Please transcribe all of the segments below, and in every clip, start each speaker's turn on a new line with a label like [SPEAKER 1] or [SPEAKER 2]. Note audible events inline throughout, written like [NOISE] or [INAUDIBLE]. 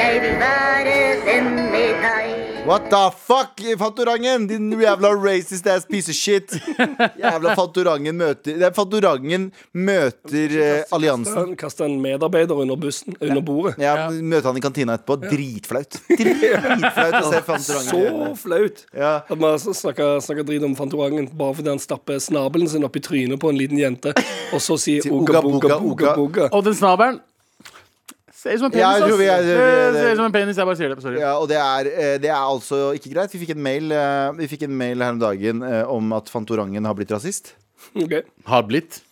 [SPEAKER 1] Jeg vil være venn med deg.
[SPEAKER 2] What the fuck, Fantorangen? Din jævla racist ass piece of shit. Jævla Fantorangen møter Det er Fantorangen møter eh, alliansen.
[SPEAKER 3] Han kasta Sånn, en medarbeider under bussen, under bordet.
[SPEAKER 2] Ja, møter han i kantina etterpå. Dritflaut. Dritflaut å se Fantorangen.
[SPEAKER 3] Så flaut
[SPEAKER 2] Ja.
[SPEAKER 3] at man altså snakker, snakker drit om Fantorangen bare fordi han stapper snabelen sin opp i trynet på en liten jente, og så sier
[SPEAKER 2] Sier
[SPEAKER 3] oga, boga,
[SPEAKER 2] oga.
[SPEAKER 3] boga, boga.
[SPEAKER 4] Og den snabelen Ser ut som en penis,
[SPEAKER 2] Ja, jeg
[SPEAKER 4] ass.
[SPEAKER 2] tror vi er-
[SPEAKER 4] Det Ser ut som en penis, jeg bare sier det. Sorry.
[SPEAKER 2] Ja, og det er, eh, det er altså ikke greit. Vi fikk en mail, eh, vi fikk en mail her om dagen eh, om at Fantorangen har blitt rasist.
[SPEAKER 3] Ok.
[SPEAKER 4] Har blitt.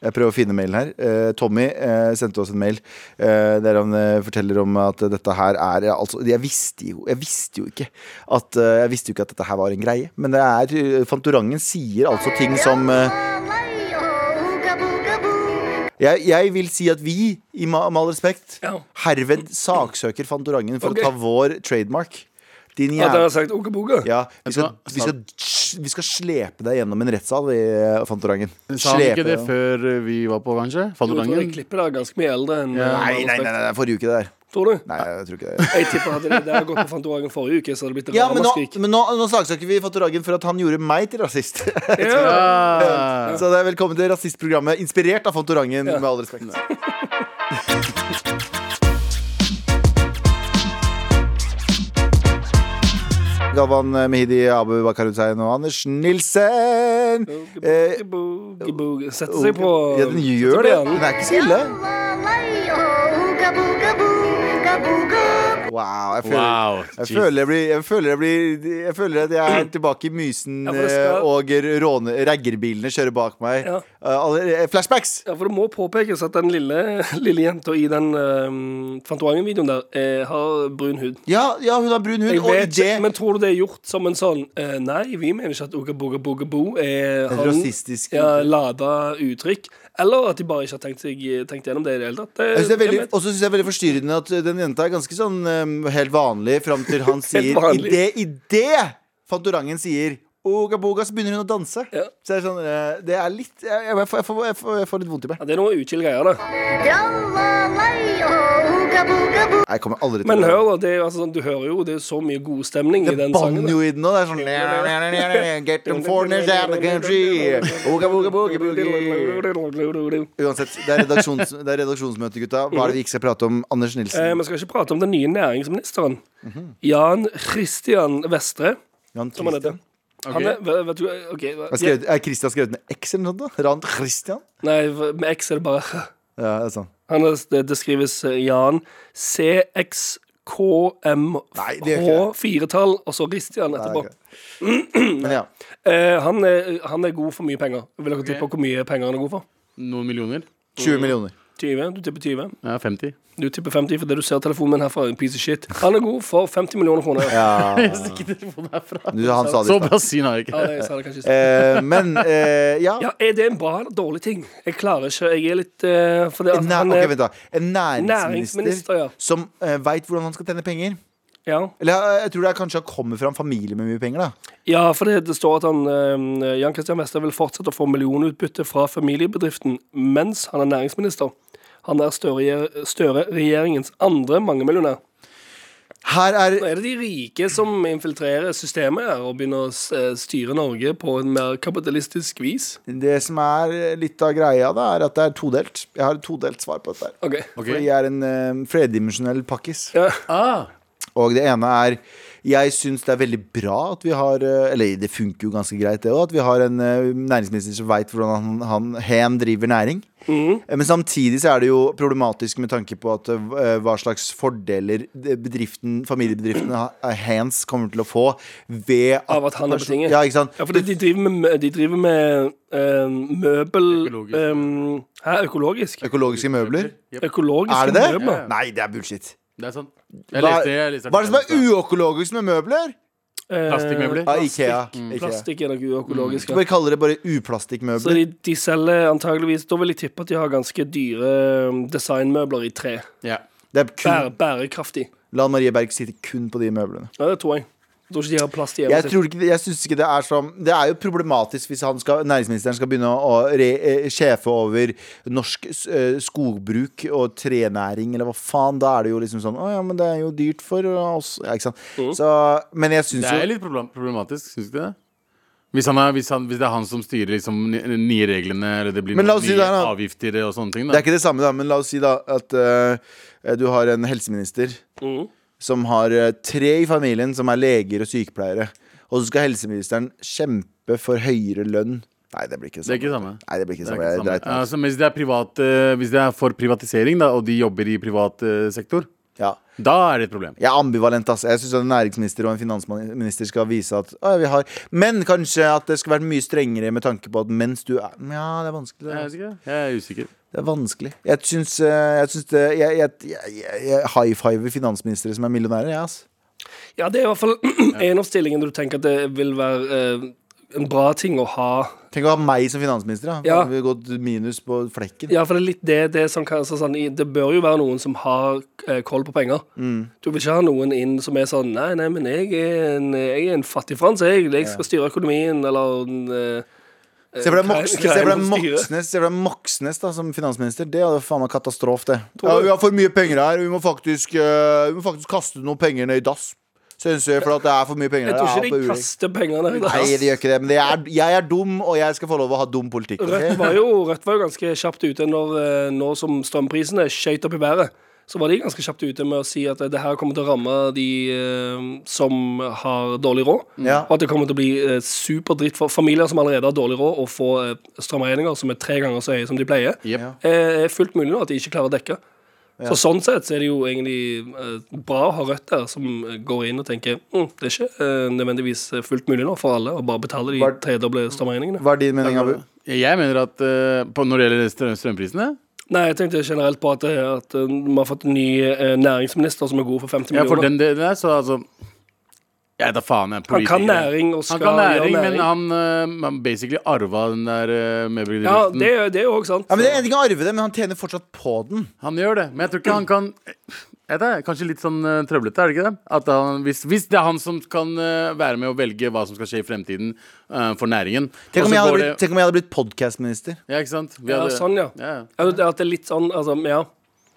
[SPEAKER 2] Jeg prøver å finne mailen her. Eh, Tommy eh, sendte oss en mail eh, der han eh, forteller om at dette her er ja, altså, jeg, visste jo, jeg visste jo ikke at eh, Jeg visste jo ikke at dette her var en greie. Men det er eh, Fantorangen sier altså ting som eh,
[SPEAKER 1] Tralala-lai-ho, uga-buga-bu.
[SPEAKER 2] jeg, jeg vil si at vi, i ma med all respekt,
[SPEAKER 3] Ja.
[SPEAKER 2] herved saksøker Fantorangen for
[SPEAKER 3] Ok.
[SPEAKER 2] å ta vår trademark. Din
[SPEAKER 3] At han
[SPEAKER 2] jævla
[SPEAKER 3] har sagt oga, boga.
[SPEAKER 2] ja, vi, skal,
[SPEAKER 4] Vet du
[SPEAKER 2] vi,
[SPEAKER 4] hva?
[SPEAKER 2] skal, vi skal slepe deg gjennom en rettssal, vi, eh, Fantorangen.
[SPEAKER 4] Sa han ikke
[SPEAKER 2] Slepe
[SPEAKER 4] det
[SPEAKER 2] deg.
[SPEAKER 4] før vi var på, kanskje?
[SPEAKER 3] Jeg tror det
[SPEAKER 4] Fantorangen?
[SPEAKER 3] klippet der er ganske mye eldre enn eh,
[SPEAKER 2] Nei, nei, nei, nei, nei, forrige uke, det der.
[SPEAKER 3] Tror du?
[SPEAKER 2] Nei, jeg tror ikke det.
[SPEAKER 3] Jeg tipper hadde det der gått på Fantorangen forrige uke, så hadde det blitt et
[SPEAKER 2] Ja, men nå,
[SPEAKER 3] ramaskrik.
[SPEAKER 2] men nå, nå saksøker vi Fantorangen for at han gjorde meg til rasist.
[SPEAKER 3] Ja.
[SPEAKER 4] Ah.
[SPEAKER 2] [LAUGHS] Så det er velkommen til rasistprogrammet inspirert av Fantorangen, med all respekt. [LAUGHS] Galvan Mehidi, Abu Bakar Hussein og Anders Nilsen. Eh,
[SPEAKER 3] Oga, boga, boga. Sette seg på
[SPEAKER 2] ja, den gjør det.
[SPEAKER 3] sette seg på hjernen.
[SPEAKER 2] Den er ikke så ille.
[SPEAKER 1] Tralala-lai-ho, uga-buga-buga-buga.
[SPEAKER 2] Wow. Jeg føler,
[SPEAKER 4] Wow.
[SPEAKER 2] Jeg føler jeg, blir, jeg, føler jeg, blir, jeg føler at jeg er tilbake i Mysen
[SPEAKER 3] Ja, for det skal-
[SPEAKER 2] eh, og råne, raggerbilene kjører bak meg.
[SPEAKER 3] Ja.
[SPEAKER 2] Eh, alle- eh, flashbacks!
[SPEAKER 3] Ja, for det må påpekes at den lille, [LAUGHS] lille jenta i den eh, Fantorangen-videoen der eh, har brun hud.
[SPEAKER 2] Ja, ja, hun har brun hud.
[SPEAKER 3] Jeg
[SPEAKER 2] Og i
[SPEAKER 3] vet ikke,
[SPEAKER 2] det
[SPEAKER 3] men tror du det er gjort som en sånn eh, Nei, vi mener ikke at Uga Buga Buga Boo er
[SPEAKER 2] Et
[SPEAKER 3] har en-
[SPEAKER 2] rasistisk
[SPEAKER 3] ja,
[SPEAKER 2] uttrykk.
[SPEAKER 3] lada uttrykk? Eller at de bare ikke har tenkt, seg, eh, tenkt gjennom det i det hele tatt?
[SPEAKER 2] Jeg synes det er veldig-
[SPEAKER 3] jeg vet.
[SPEAKER 2] Og så syns jeg det er veldig forstyrrende at eh, den jenta er ganske sånn eh, helt vanlig fram til
[SPEAKER 3] [LAUGHS]
[SPEAKER 2] han sier I
[SPEAKER 3] vanlig.
[SPEAKER 2] det, i det Fantorangen sier Oga boga, så begynner hun å danse.
[SPEAKER 3] Ja.
[SPEAKER 2] Så det er sånn eh, Det er litt Jeg, jeg, får, jeg, får, jeg, får, jeg får litt vondt i meg.
[SPEAKER 3] ja, det er noe utkild greier, da.
[SPEAKER 1] Tralala-lai-ho, uga-buga-bu.
[SPEAKER 2] Jeg kommer aldri til
[SPEAKER 3] Men
[SPEAKER 2] å-
[SPEAKER 3] hør, da. Det er, jo altså, sånn, du hører jo det er så mye god stemning i
[SPEAKER 2] Det
[SPEAKER 3] den sangen.
[SPEAKER 2] banner
[SPEAKER 3] da.
[SPEAKER 2] jo i den nå. Det er sånn Get them foreigners out of the country. Ooga, ooga, booga, boogie. Uansett, det er, redaksjons, det er redaksjonsmøte, gutta. Hva er det vi ikke skal prate om? Anders
[SPEAKER 3] Eh,
[SPEAKER 2] Nilsen.
[SPEAKER 3] Vi skal ikke prate om den nye næringsministeren.
[SPEAKER 2] Mhm.
[SPEAKER 3] Jan Christian Vestre,
[SPEAKER 2] Jan
[SPEAKER 3] som han heter.
[SPEAKER 2] Christian.
[SPEAKER 3] Han er, vet- vet du, ok,
[SPEAKER 2] Er, skrevet, er Christian skrevet med X eller noe sånt? da? Ran Christian?
[SPEAKER 3] Nei, med X er det bare [LAUGHS]
[SPEAKER 2] Ja, det er sånn.
[SPEAKER 3] Han er, det, det skrives eh, Jan
[SPEAKER 2] Nei, det gjør
[SPEAKER 3] CXKMH-firetall, og så Christian
[SPEAKER 2] Nei,
[SPEAKER 3] etterpå.
[SPEAKER 2] ok. Men ja.
[SPEAKER 3] Eh, han, er, han er god for mye penger. Vil dere tippe hvor mye penger han er god for?
[SPEAKER 4] Noen millioner?
[SPEAKER 2] 20 millioner.
[SPEAKER 3] 20? Du tipper 20?
[SPEAKER 4] Ja, 50.
[SPEAKER 3] Du tipper 50 fordi du ser telefonen min herfra. en Piece of shit. Han er god for 50 millioner
[SPEAKER 2] [LAUGHS]
[SPEAKER 3] kroner. Ja,
[SPEAKER 4] Jeg stikker telefonen herfra.
[SPEAKER 2] Du, han sa det
[SPEAKER 4] Så
[SPEAKER 2] i stad.
[SPEAKER 4] bra syn har jeg ikke.
[SPEAKER 3] det sa jeg kanskje i sted.
[SPEAKER 2] Eh, men eh, ja.
[SPEAKER 3] ja, Er det en bra eller dårlig ting? Jeg klarer ikke. Jeg er litt eh, fordi at
[SPEAKER 2] En, næ
[SPEAKER 3] han
[SPEAKER 2] ok,
[SPEAKER 3] er,
[SPEAKER 2] vent da. en
[SPEAKER 3] Næringsminister,
[SPEAKER 2] næringsminister
[SPEAKER 3] ja.
[SPEAKER 2] som uh, veit hvordan han skal tjene penger.
[SPEAKER 3] ja.
[SPEAKER 2] Eller eh, jeg tror det er kanskje han kommer fra en familie med mye penger. da
[SPEAKER 3] ja, for det, det står at han eh, Jan Christian Wester vil fortsette å få millionutbytte fra familiebedriften mens han er næringsminister. Han er Støre- Støre-regjeringens andre mangemillionær.
[SPEAKER 2] Her er
[SPEAKER 3] Nå er det de rike som infiltrerer systemet her og begynner å s- eh, styre Norge på en mer kapitalistisk vis.
[SPEAKER 2] Det som er eh, litt av greia, da, er at det er todelt. Jeg har et todelt svar på dette. her
[SPEAKER 3] Ok.
[SPEAKER 4] Ok.
[SPEAKER 2] Fordi jeg er en eh, flerdimensjonell pakkis.
[SPEAKER 3] Ja.
[SPEAKER 4] Ah,
[SPEAKER 2] Og det ene er Jeg syns det er veldig bra at vi har eh, Eller det funker jo ganske greit, det òg. At vi har en eh, næringsminister som veit hvordan han, han hen driver næring.
[SPEAKER 3] Mm.
[SPEAKER 2] Eh, Men samtidig så er det jo problematisk med tanke på at eh, hva slags fordeler det bedriften, familiebedriften ha- eh, hans kommer til å få ved
[SPEAKER 3] Av at han er på tinget.
[SPEAKER 2] Ja, ikke sant?
[SPEAKER 3] Ja, for de driver med, mø- de driver med eh, møbel
[SPEAKER 4] Økologisk.
[SPEAKER 3] em, Hæ, økologisk?
[SPEAKER 2] Økologiske møbler.
[SPEAKER 3] Økologiske
[SPEAKER 2] Er det det?
[SPEAKER 3] møbler.
[SPEAKER 2] Nei, det er bullshit.
[SPEAKER 4] det er sant.
[SPEAKER 2] Hva-
[SPEAKER 4] Jeg leste det. Jeg leste
[SPEAKER 2] Hva er det som er uøkologisk med møbler?
[SPEAKER 3] Eh,
[SPEAKER 4] Plastikkmøbler.
[SPEAKER 2] Ja, Ah, Ikea. Ikea. Mm.
[SPEAKER 3] Plastikk er noe uøkologisk.
[SPEAKER 2] Du
[SPEAKER 3] ja.
[SPEAKER 2] bare kaller det bare
[SPEAKER 3] Så
[SPEAKER 2] uplastikkmøbler.
[SPEAKER 3] de, de selger antageligvis Da vil jeg tippe at de har ganske dyre em, designmøbler i tre.
[SPEAKER 4] Ja.
[SPEAKER 2] Det er kun,
[SPEAKER 3] Bære, bærekraftig.
[SPEAKER 2] Lan Marie Berg sitter kun på de møblene.
[SPEAKER 3] Ja, det tror jeg. Jeg tror ikke de har plass til
[SPEAKER 2] Jeg,
[SPEAKER 3] hjemmet
[SPEAKER 2] tror ikke, det- jeg synes ikke det er som Det er jo problematisk hvis han skal, næringsministeren skal begynne å re, eh, sjefe over norsk s- eh, skogbruk og trenæring, eller hva faen. Da er det jo liksom sånn Å ja, men det er jo dyrt for oss. Ja, ikke sant. Så, men jeg syns
[SPEAKER 4] Mm. Det er
[SPEAKER 2] jo
[SPEAKER 4] litt problem- problematisk, syns du ikke det? Hvis, han er, hvis, han, hvis det er han som styrer liksom, ny- nye reglene, eller det blir
[SPEAKER 2] Men
[SPEAKER 4] noen
[SPEAKER 2] la oss si
[SPEAKER 4] nye
[SPEAKER 2] det er han.
[SPEAKER 4] avgifter og sånne ting,
[SPEAKER 2] Det
[SPEAKER 4] da.
[SPEAKER 2] er ikke det samme, da, men la oss si da at eh, du har en helseminister
[SPEAKER 3] Mm.
[SPEAKER 2] som har eh, tre i familien som er leger og sykepleiere, og så skal helseministeren kjempe for høyere lønn. Nei, det blir ikke det samme.
[SPEAKER 4] Det er ikke det samme.
[SPEAKER 2] Nei, det blir ikke det
[SPEAKER 4] Det
[SPEAKER 2] samme. Jeg
[SPEAKER 4] er ikke det samme.
[SPEAKER 2] dreit meg ut.
[SPEAKER 4] Altså, men hvis, det er privat, eh, hvis det er for privatisering, da, og de jobber i privat eh, sektor,
[SPEAKER 2] Ja.
[SPEAKER 4] da er det et problem.
[SPEAKER 2] Jeg er ambivalent, ass. Jeg syns en næringsminister og en finansminister skal vise at å, ja, vi har Men kanskje at det skal være mye strengere med tanke på at mens du er Ja, det er vanskelig. Det
[SPEAKER 4] Jeg
[SPEAKER 2] er,
[SPEAKER 4] er usikker. Jeg er usikker.
[SPEAKER 2] det er vanskelig. Jeg syns eh, jeg, syns det- jeg, jeg, jeg, jeg, jeg high-fiver finansministre som er millionærer, jeg, ass.
[SPEAKER 3] Ja, det er i hvert fall [CLEARS THROAT] en av stillingene du tenker at det vil være eh, en bra ting å ha.
[SPEAKER 2] Tenk å ha meg som finansminister, da.
[SPEAKER 3] Ja.
[SPEAKER 2] Da hadde vi gått minus på flekken.
[SPEAKER 3] Ja, for det er litt det, det som kan altså, sånn, i- Det bør jo være noen som har eh, koll på penger.
[SPEAKER 2] Mm.
[SPEAKER 3] Du vil ikke ha noen inn som er sånn Nei, nei, men jeg er en, jeg er en fattig frans, jeg. Jeg skal styre økonomien, eller en, eh,
[SPEAKER 2] Se for deg
[SPEAKER 3] Hva er-
[SPEAKER 2] Moxnes,
[SPEAKER 3] hva er
[SPEAKER 2] se for deg
[SPEAKER 3] det man styrer?
[SPEAKER 2] Moxnes, se for deg Moxnes da, som finansminister. Det hadde faen meg katastrofe, det.
[SPEAKER 3] Tror
[SPEAKER 2] Ja,
[SPEAKER 3] du-
[SPEAKER 2] vi har for mye penger her. Vi må faktisk, eh, vi må faktisk kaste noen penger ned i dass. Synes jeg, for at det er for mye penger
[SPEAKER 3] Jeg
[SPEAKER 2] her.
[SPEAKER 3] tror
[SPEAKER 2] Ja,
[SPEAKER 3] ikke
[SPEAKER 2] på
[SPEAKER 3] de
[SPEAKER 2] ulik.
[SPEAKER 3] kaster pengene. da.
[SPEAKER 2] Nei, det gjør ikke det. Men det er, jeg er dum, og jeg skal få lov å ha dum politikk. ok?
[SPEAKER 3] Rødt var, jo, Rødt var jo ganske kjapt ute når, eh, nå som strømprisene skjøt opp i været. Så var de ganske kjapt ute med å si at eh, det her kommer til å ramme de eh, som har dårlig råd.
[SPEAKER 2] Mm. Ja.
[SPEAKER 3] Og at det kommer til å bli eh, superdritt for familier som allerede har dårlig råd, å få eh, strømregninger som er tre ganger så høye som de pleier.
[SPEAKER 4] Jep.
[SPEAKER 2] Ja.
[SPEAKER 3] Eh, er fullt mulig nå at de ikke klarer å dekke. Så Sånn sett så er det jo egentlig eh, bra å ha Rødt der, som eh, går inn og tenker mm, det er ikke eh, nødvendigvis eh, fullt mulig nå for alle å bare betale de
[SPEAKER 2] Var-
[SPEAKER 3] tredoble strømregningene.
[SPEAKER 2] Hva er din mening, Abu?
[SPEAKER 4] Jeg mener at eh, på, når det gjelder strøm, strømprisene
[SPEAKER 3] Nei, jeg tenkte generelt på at, eh, at vi har fått en ny eh, næringsminister som er god for 50
[SPEAKER 4] Ja, for
[SPEAKER 3] millioner.
[SPEAKER 4] den delen der, så altså Jeg vet da faen, jeg. er
[SPEAKER 3] han kan
[SPEAKER 4] politiker.
[SPEAKER 3] næring og skal
[SPEAKER 4] Han kan næring,
[SPEAKER 3] gjøre
[SPEAKER 4] men
[SPEAKER 3] næring.
[SPEAKER 4] han, eh, han basically arva den der uh,
[SPEAKER 3] ja,
[SPEAKER 4] møbelbedriften.
[SPEAKER 3] det, er- det er jo også sant.
[SPEAKER 2] Ja, men det er ikke å arve det, men han tjener fortsatt på den.
[SPEAKER 4] Han gjør det, men jeg tror ikke han kan jeg vet ikke, Kanskje litt sånn eh, trøblete, er det ikke det? At han, hvis, hvis det er han som kan eh, være med å velge hva som skal skje i fremtiden eh, for næringen
[SPEAKER 2] Tenk om
[SPEAKER 4] og så
[SPEAKER 2] jeg hadde
[SPEAKER 4] går
[SPEAKER 2] blitt,
[SPEAKER 4] det,
[SPEAKER 2] tenk om jeg hadde blitt podcastminister.
[SPEAKER 4] Ja, ikke sant? Vi
[SPEAKER 3] Ja,
[SPEAKER 4] hadde-
[SPEAKER 3] sånn, ja.
[SPEAKER 4] ja.
[SPEAKER 3] Ja, det- At det er litt sånn, altså, ja.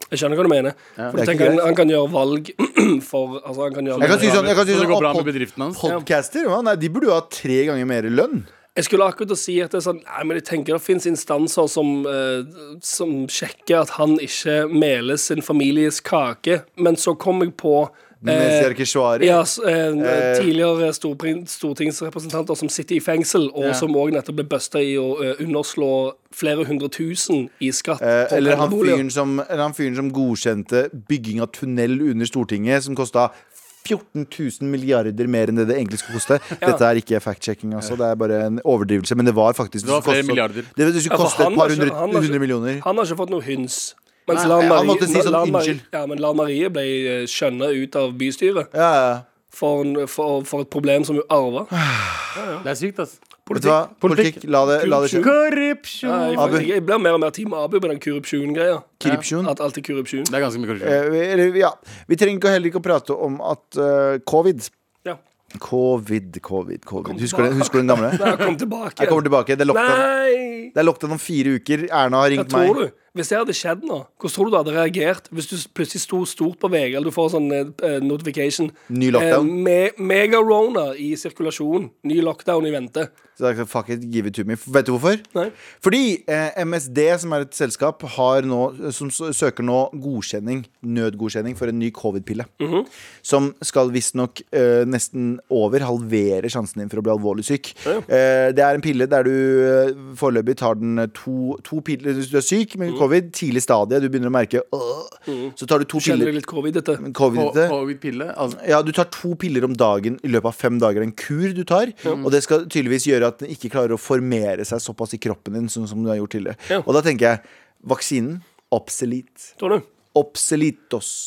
[SPEAKER 3] Jeg skjønner hva du mener. For
[SPEAKER 2] Det
[SPEAKER 3] du
[SPEAKER 2] er
[SPEAKER 3] tenker
[SPEAKER 2] ikke
[SPEAKER 3] han,
[SPEAKER 2] greit.
[SPEAKER 3] han kan gjøre valg [CLEARS THROAT] for altså, han kan gjøre
[SPEAKER 2] Jeg kan si sånn, jeg kan si
[SPEAKER 4] Så det
[SPEAKER 2] sånn
[SPEAKER 4] går
[SPEAKER 2] å,
[SPEAKER 4] bra
[SPEAKER 2] pod-
[SPEAKER 4] med bedriften hans?
[SPEAKER 2] Podcaster? Ja, nei, de burde jo ha tre ganger mer lønn.
[SPEAKER 3] Jeg skulle akkurat å si at det er sånn Nei, men jeg tenker det finnes instanser som eh, Som sjekker at han ikke meler sin families kake, men så kom jeg på
[SPEAKER 2] Mens
[SPEAKER 3] eh,
[SPEAKER 2] jeg ikke svarer.
[SPEAKER 3] Ja, s- eh, tidligere storprin- stortingsrepresentanter som sitter i fengsel, og som òg nettopp ble busta i å eh, underslå flere hundre tusen i skatt.
[SPEAKER 2] Eh,
[SPEAKER 3] på
[SPEAKER 2] eller, han
[SPEAKER 3] pendlerboliger.
[SPEAKER 2] fyren som, eller han fyren som godkjente bygging av tunnel under Stortinget, som kosta 14 000 milliarder mer enn det det egentlig skulle
[SPEAKER 3] [LAUGHS]
[SPEAKER 2] koste. Dette er ikke fact-checking, altså. Det er bare en overdrivelse. Men det var faktisk
[SPEAKER 4] Det var flere
[SPEAKER 2] skulle
[SPEAKER 4] milliarder.
[SPEAKER 2] koste, det, det
[SPEAKER 3] Ja,
[SPEAKER 2] skulle
[SPEAKER 3] for
[SPEAKER 2] koste
[SPEAKER 3] Altså, han
[SPEAKER 2] et
[SPEAKER 3] har
[SPEAKER 2] par
[SPEAKER 3] ikke-
[SPEAKER 2] hundre,
[SPEAKER 3] han har ikke-
[SPEAKER 2] hundre millioner.
[SPEAKER 3] Han har ikke fått noe hyns. Mens
[SPEAKER 2] Nei,
[SPEAKER 3] Lan
[SPEAKER 2] han
[SPEAKER 3] Marie-
[SPEAKER 2] måtte si sånn,
[SPEAKER 3] Lan Marie-
[SPEAKER 2] «Unnskyld».
[SPEAKER 3] Ja, men Lan Marie ble eh, skjønna ut av bystyret
[SPEAKER 2] Ja, ja.
[SPEAKER 3] for, en- for, for et problem som hun arva.
[SPEAKER 2] Ah.
[SPEAKER 4] Det er sykt, ass.
[SPEAKER 2] Vet du hva? Politikk. La det, la det skje.
[SPEAKER 4] Korrupsjon!
[SPEAKER 3] Jeg,
[SPEAKER 2] Abu.
[SPEAKER 3] jeg, jeg blir mer og mer team Abu på den korrupsjon-greia.
[SPEAKER 2] Korrupsjon.
[SPEAKER 3] At alt er korrupsjon.
[SPEAKER 4] Det er ganske mye korrupsjon.
[SPEAKER 2] Eh, vi- eller, ja. Vi trenger ikke, heller ikke å prate om at eh, covid
[SPEAKER 3] Ja.
[SPEAKER 2] Covid, covid, covid. Husker du, husker du den gamle?
[SPEAKER 3] Nei, kom tilbake.
[SPEAKER 2] Jeg kommer tilbake. Det er lockdown.
[SPEAKER 3] Nei!
[SPEAKER 2] Det er lockdown om fire uker. Erna har
[SPEAKER 3] Hva
[SPEAKER 2] ringt meg.
[SPEAKER 3] tror du? Hvis det hadde skjedd nå, hvordan tror du du hadde reagert hvis du plutselig sto stort på VG, eller du får sånn eh, notification
[SPEAKER 2] Ny lockdown.
[SPEAKER 3] Eh, me Mega-rona i sirkulasjon. Ny lockdown i vente.
[SPEAKER 2] Så det er ikke sånn, fuck it, give it to me. Vet du hvorfor?
[SPEAKER 3] Nei.
[SPEAKER 2] Fordi eh, MSD, som er et selskap, har nå, som s- søker nå godkjenning, nødgodkjenning for en ny covid-pille.
[SPEAKER 3] Mhm.
[SPEAKER 2] Som skal visstnok eh, nesten over halvere sjansen din for å bli alvorlig syk. Eh, det er en pille der du eh, foreløpig tar den eh, to, to piller Hvis du er syk
[SPEAKER 3] Mhm.
[SPEAKER 2] med covid, tidlig stadie, du begynner å merke øh, Så tar du to
[SPEAKER 3] Kjenner
[SPEAKER 2] piller
[SPEAKER 3] Mhm. du litt covid-ete?
[SPEAKER 2] covid
[SPEAKER 4] Ko- Covid-pille. Altså,
[SPEAKER 2] ja, du tar to piller om dagen i løpet av fem dager. En kur du tar. Og det skal tydeligvis gjøre at den ikke klarer å formere seg såpass i kroppen din. Sånn som du har gjort tidligere
[SPEAKER 3] Ja.
[SPEAKER 2] Og da tenker jeg vaksinen obsolete.
[SPEAKER 3] Tror du?
[SPEAKER 2] Obsolitos.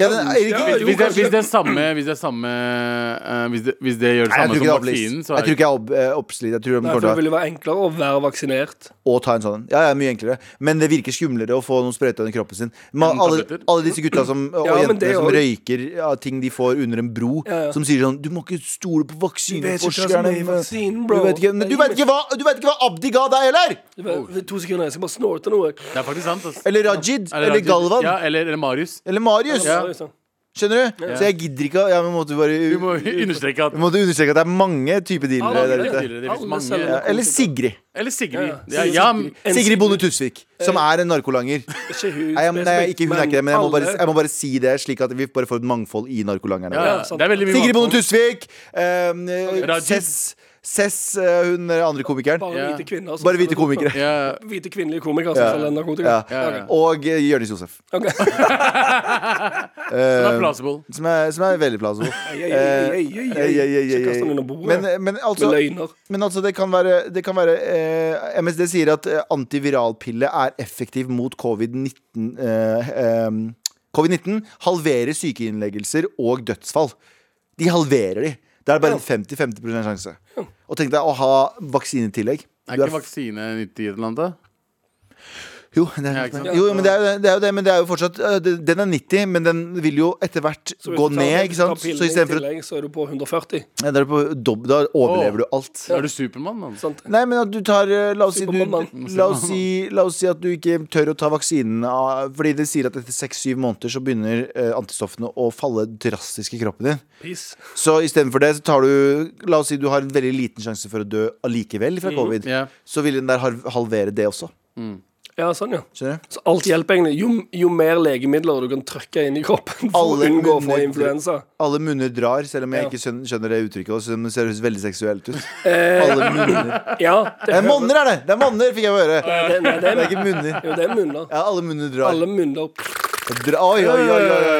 [SPEAKER 2] Ja, men, Erik,
[SPEAKER 3] Ja, jo,
[SPEAKER 4] Hvis det,
[SPEAKER 3] kanskje.
[SPEAKER 4] hvis det er samme, hvis det, er samme eh, hvis, det, hvis det gjør det
[SPEAKER 2] Nei, jeg
[SPEAKER 4] samme
[SPEAKER 2] tror ikke det
[SPEAKER 4] som
[SPEAKER 2] er opplyst.
[SPEAKER 4] vaksinen, så
[SPEAKER 2] Jeg
[SPEAKER 4] er
[SPEAKER 2] tror ikke jeg er opp- eh, oppslitt. Jeg tror de
[SPEAKER 3] Nei,
[SPEAKER 2] kommer
[SPEAKER 3] for det
[SPEAKER 2] til
[SPEAKER 3] ville være enklere å være vaksinert.
[SPEAKER 2] å ta en sånn. Ja, ja, mye enklere. Men det virker skumlere å få noen sprøyter under kroppen sin. Men
[SPEAKER 4] Enn
[SPEAKER 2] alle,
[SPEAKER 4] tabletter?
[SPEAKER 2] alle disse gutta som, og
[SPEAKER 3] Ja, men
[SPEAKER 2] jentene
[SPEAKER 3] det
[SPEAKER 2] som
[SPEAKER 3] også.
[SPEAKER 2] røyker ja, ting de får under en bro,
[SPEAKER 3] Ja, ja.
[SPEAKER 2] som sier sånn Du må ikke stole på
[SPEAKER 3] Du vet ikke hva som
[SPEAKER 2] vaksineforskerne.
[SPEAKER 3] er i vaksinen,
[SPEAKER 2] Du
[SPEAKER 3] bro.
[SPEAKER 2] vet ikke, men du vet ikke hva, du vet ikke hva Abdi ga deg, eller?
[SPEAKER 3] Det var- To sekunder, jeg skal bare snorte noe.
[SPEAKER 4] Det er faktisk sant. ass.
[SPEAKER 2] Eller Rajid?
[SPEAKER 4] Er det
[SPEAKER 2] Eller
[SPEAKER 4] Rajid?
[SPEAKER 2] Galvan?
[SPEAKER 4] Ja, eller, eller Marius.
[SPEAKER 2] Eller Marius?
[SPEAKER 3] Ja, det er sant.
[SPEAKER 2] Skjønner du? Så jeg gidder ikke å- ja, men måtte bare,
[SPEAKER 4] Du må [LAUGHS] understreke at
[SPEAKER 2] Vi måtte understreke at det er mange typer dealere
[SPEAKER 3] Alle
[SPEAKER 2] der
[SPEAKER 4] det
[SPEAKER 2] ute.
[SPEAKER 4] er tidligere, det finnes
[SPEAKER 3] Alle
[SPEAKER 4] mange-
[SPEAKER 3] selger
[SPEAKER 2] Ja,
[SPEAKER 4] ja.
[SPEAKER 2] Eller Sigrid.
[SPEAKER 4] Eller Sigrid.
[SPEAKER 3] Ja,
[SPEAKER 4] Ja,
[SPEAKER 3] ja.
[SPEAKER 4] ja,
[SPEAKER 3] En
[SPEAKER 2] Sigrid Bonde Tusvik, som
[SPEAKER 4] Eh,
[SPEAKER 2] er en narkolanger.
[SPEAKER 3] Ikke hun
[SPEAKER 2] Nei, men, nei,
[SPEAKER 3] spesifikt,
[SPEAKER 2] ikke hun er ikke det, men jeg må, bare,
[SPEAKER 3] alle-
[SPEAKER 2] jeg må bare si det, slik at vi bare får et mangfold i narkolangerne.
[SPEAKER 4] ja,
[SPEAKER 3] sant.
[SPEAKER 4] det er veldig mye
[SPEAKER 2] Sigrid Bonde
[SPEAKER 4] mangfold.
[SPEAKER 2] Tusvik, ehm, eh,
[SPEAKER 4] Rajib.
[SPEAKER 2] Cess, Cess, eh, hun er andre komikeren.
[SPEAKER 3] Bare
[SPEAKER 4] Ja.
[SPEAKER 3] hvite kvinner.
[SPEAKER 4] altså.
[SPEAKER 3] som
[SPEAKER 2] Bare hvite
[SPEAKER 3] selger-
[SPEAKER 2] komikere.
[SPEAKER 4] Ja,
[SPEAKER 3] Hvite kvinnelige komikere som selger narkotika.
[SPEAKER 2] Ja.
[SPEAKER 4] ja.
[SPEAKER 2] Og eh, Jonis Josef.
[SPEAKER 3] Ok.
[SPEAKER 4] den er plausible.
[SPEAKER 2] Som er, som er veldig plausible.
[SPEAKER 4] [LAUGHS]
[SPEAKER 3] Ei, ei,
[SPEAKER 2] Eh,
[SPEAKER 3] ei, ei, ei, ei. Ikke kast ham under bordet
[SPEAKER 2] Men,
[SPEAKER 3] med
[SPEAKER 2] men altså
[SPEAKER 3] løgner.
[SPEAKER 2] Men altså, det kan være, det kan være eh, MSD sier at eh, antiviralpille er effektiv mot covid-19 eh, em, Covid-19 halverer sykeinnleggelser og dødsfall. De halverer de. Det er bare en 50-50 sjanse. Og tenk deg å ha vaksinetillegg.
[SPEAKER 4] Er
[SPEAKER 2] Du
[SPEAKER 4] ikke vaksine 90 i et eller annet? da?
[SPEAKER 2] jo, det
[SPEAKER 4] Ja,
[SPEAKER 2] er,
[SPEAKER 4] ikke sant?
[SPEAKER 2] jo, men det er, jo- det er jo det, men det er jo fortsatt eh, det- Den er 90, men den vil jo etter hvert
[SPEAKER 3] Så hvis
[SPEAKER 2] gå
[SPEAKER 3] du tar-
[SPEAKER 2] ned, ikke sant?
[SPEAKER 3] tar pillen
[SPEAKER 2] Så istedenfor
[SPEAKER 3] tillegg, Så er du på 140.
[SPEAKER 2] ja, da er du på dobb- Da overlever du
[SPEAKER 4] Åh.
[SPEAKER 2] alt.
[SPEAKER 4] Er du Supermann, mann?
[SPEAKER 3] Sant?
[SPEAKER 2] Nei, men at du tar eh, La oss si, du,
[SPEAKER 3] Supermann.
[SPEAKER 2] la oss si, la oss si at du ikke tør å ta vaksinen av- Fordi det sier at etter 6-7 måneder så begynner eh, antistoffene å falle drastisk i kroppen din.
[SPEAKER 3] Peace.
[SPEAKER 2] Så istedenfor det så tar du La oss si du har en veldig liten sjanse for å dø allikevel
[SPEAKER 3] Mm,
[SPEAKER 2] fra covid.
[SPEAKER 4] Ja.
[SPEAKER 2] Så vil den der har- halvere det også.
[SPEAKER 3] Ja, sånn, ja.
[SPEAKER 2] Skjønner du?
[SPEAKER 3] Så alt hjelper egentlig. Jo, jo mer legemidler du kan trykke inn i kroppen for
[SPEAKER 2] Alle
[SPEAKER 3] å unngå å få
[SPEAKER 2] munner-
[SPEAKER 3] influensa.
[SPEAKER 2] Alle munner drar, selv om jeg
[SPEAKER 3] Ja.
[SPEAKER 2] ikke skjønner, skjønner det uttrykket. Også, men det ser veldig seksuelt
[SPEAKER 3] [LAUGHS]
[SPEAKER 2] ut.
[SPEAKER 3] Eh.
[SPEAKER 2] Alle munner
[SPEAKER 3] Ja, det,
[SPEAKER 2] Det er monner, er det! Det er monner, fikk jeg høre.
[SPEAKER 3] det, nei, det,
[SPEAKER 2] Det er
[SPEAKER 3] er,
[SPEAKER 2] ikke munner.
[SPEAKER 3] jo, det er munner.
[SPEAKER 2] Ja, alle munner drar.
[SPEAKER 3] Eh. Alle munner
[SPEAKER 2] Dra, oi, oi, oi, oi, oi.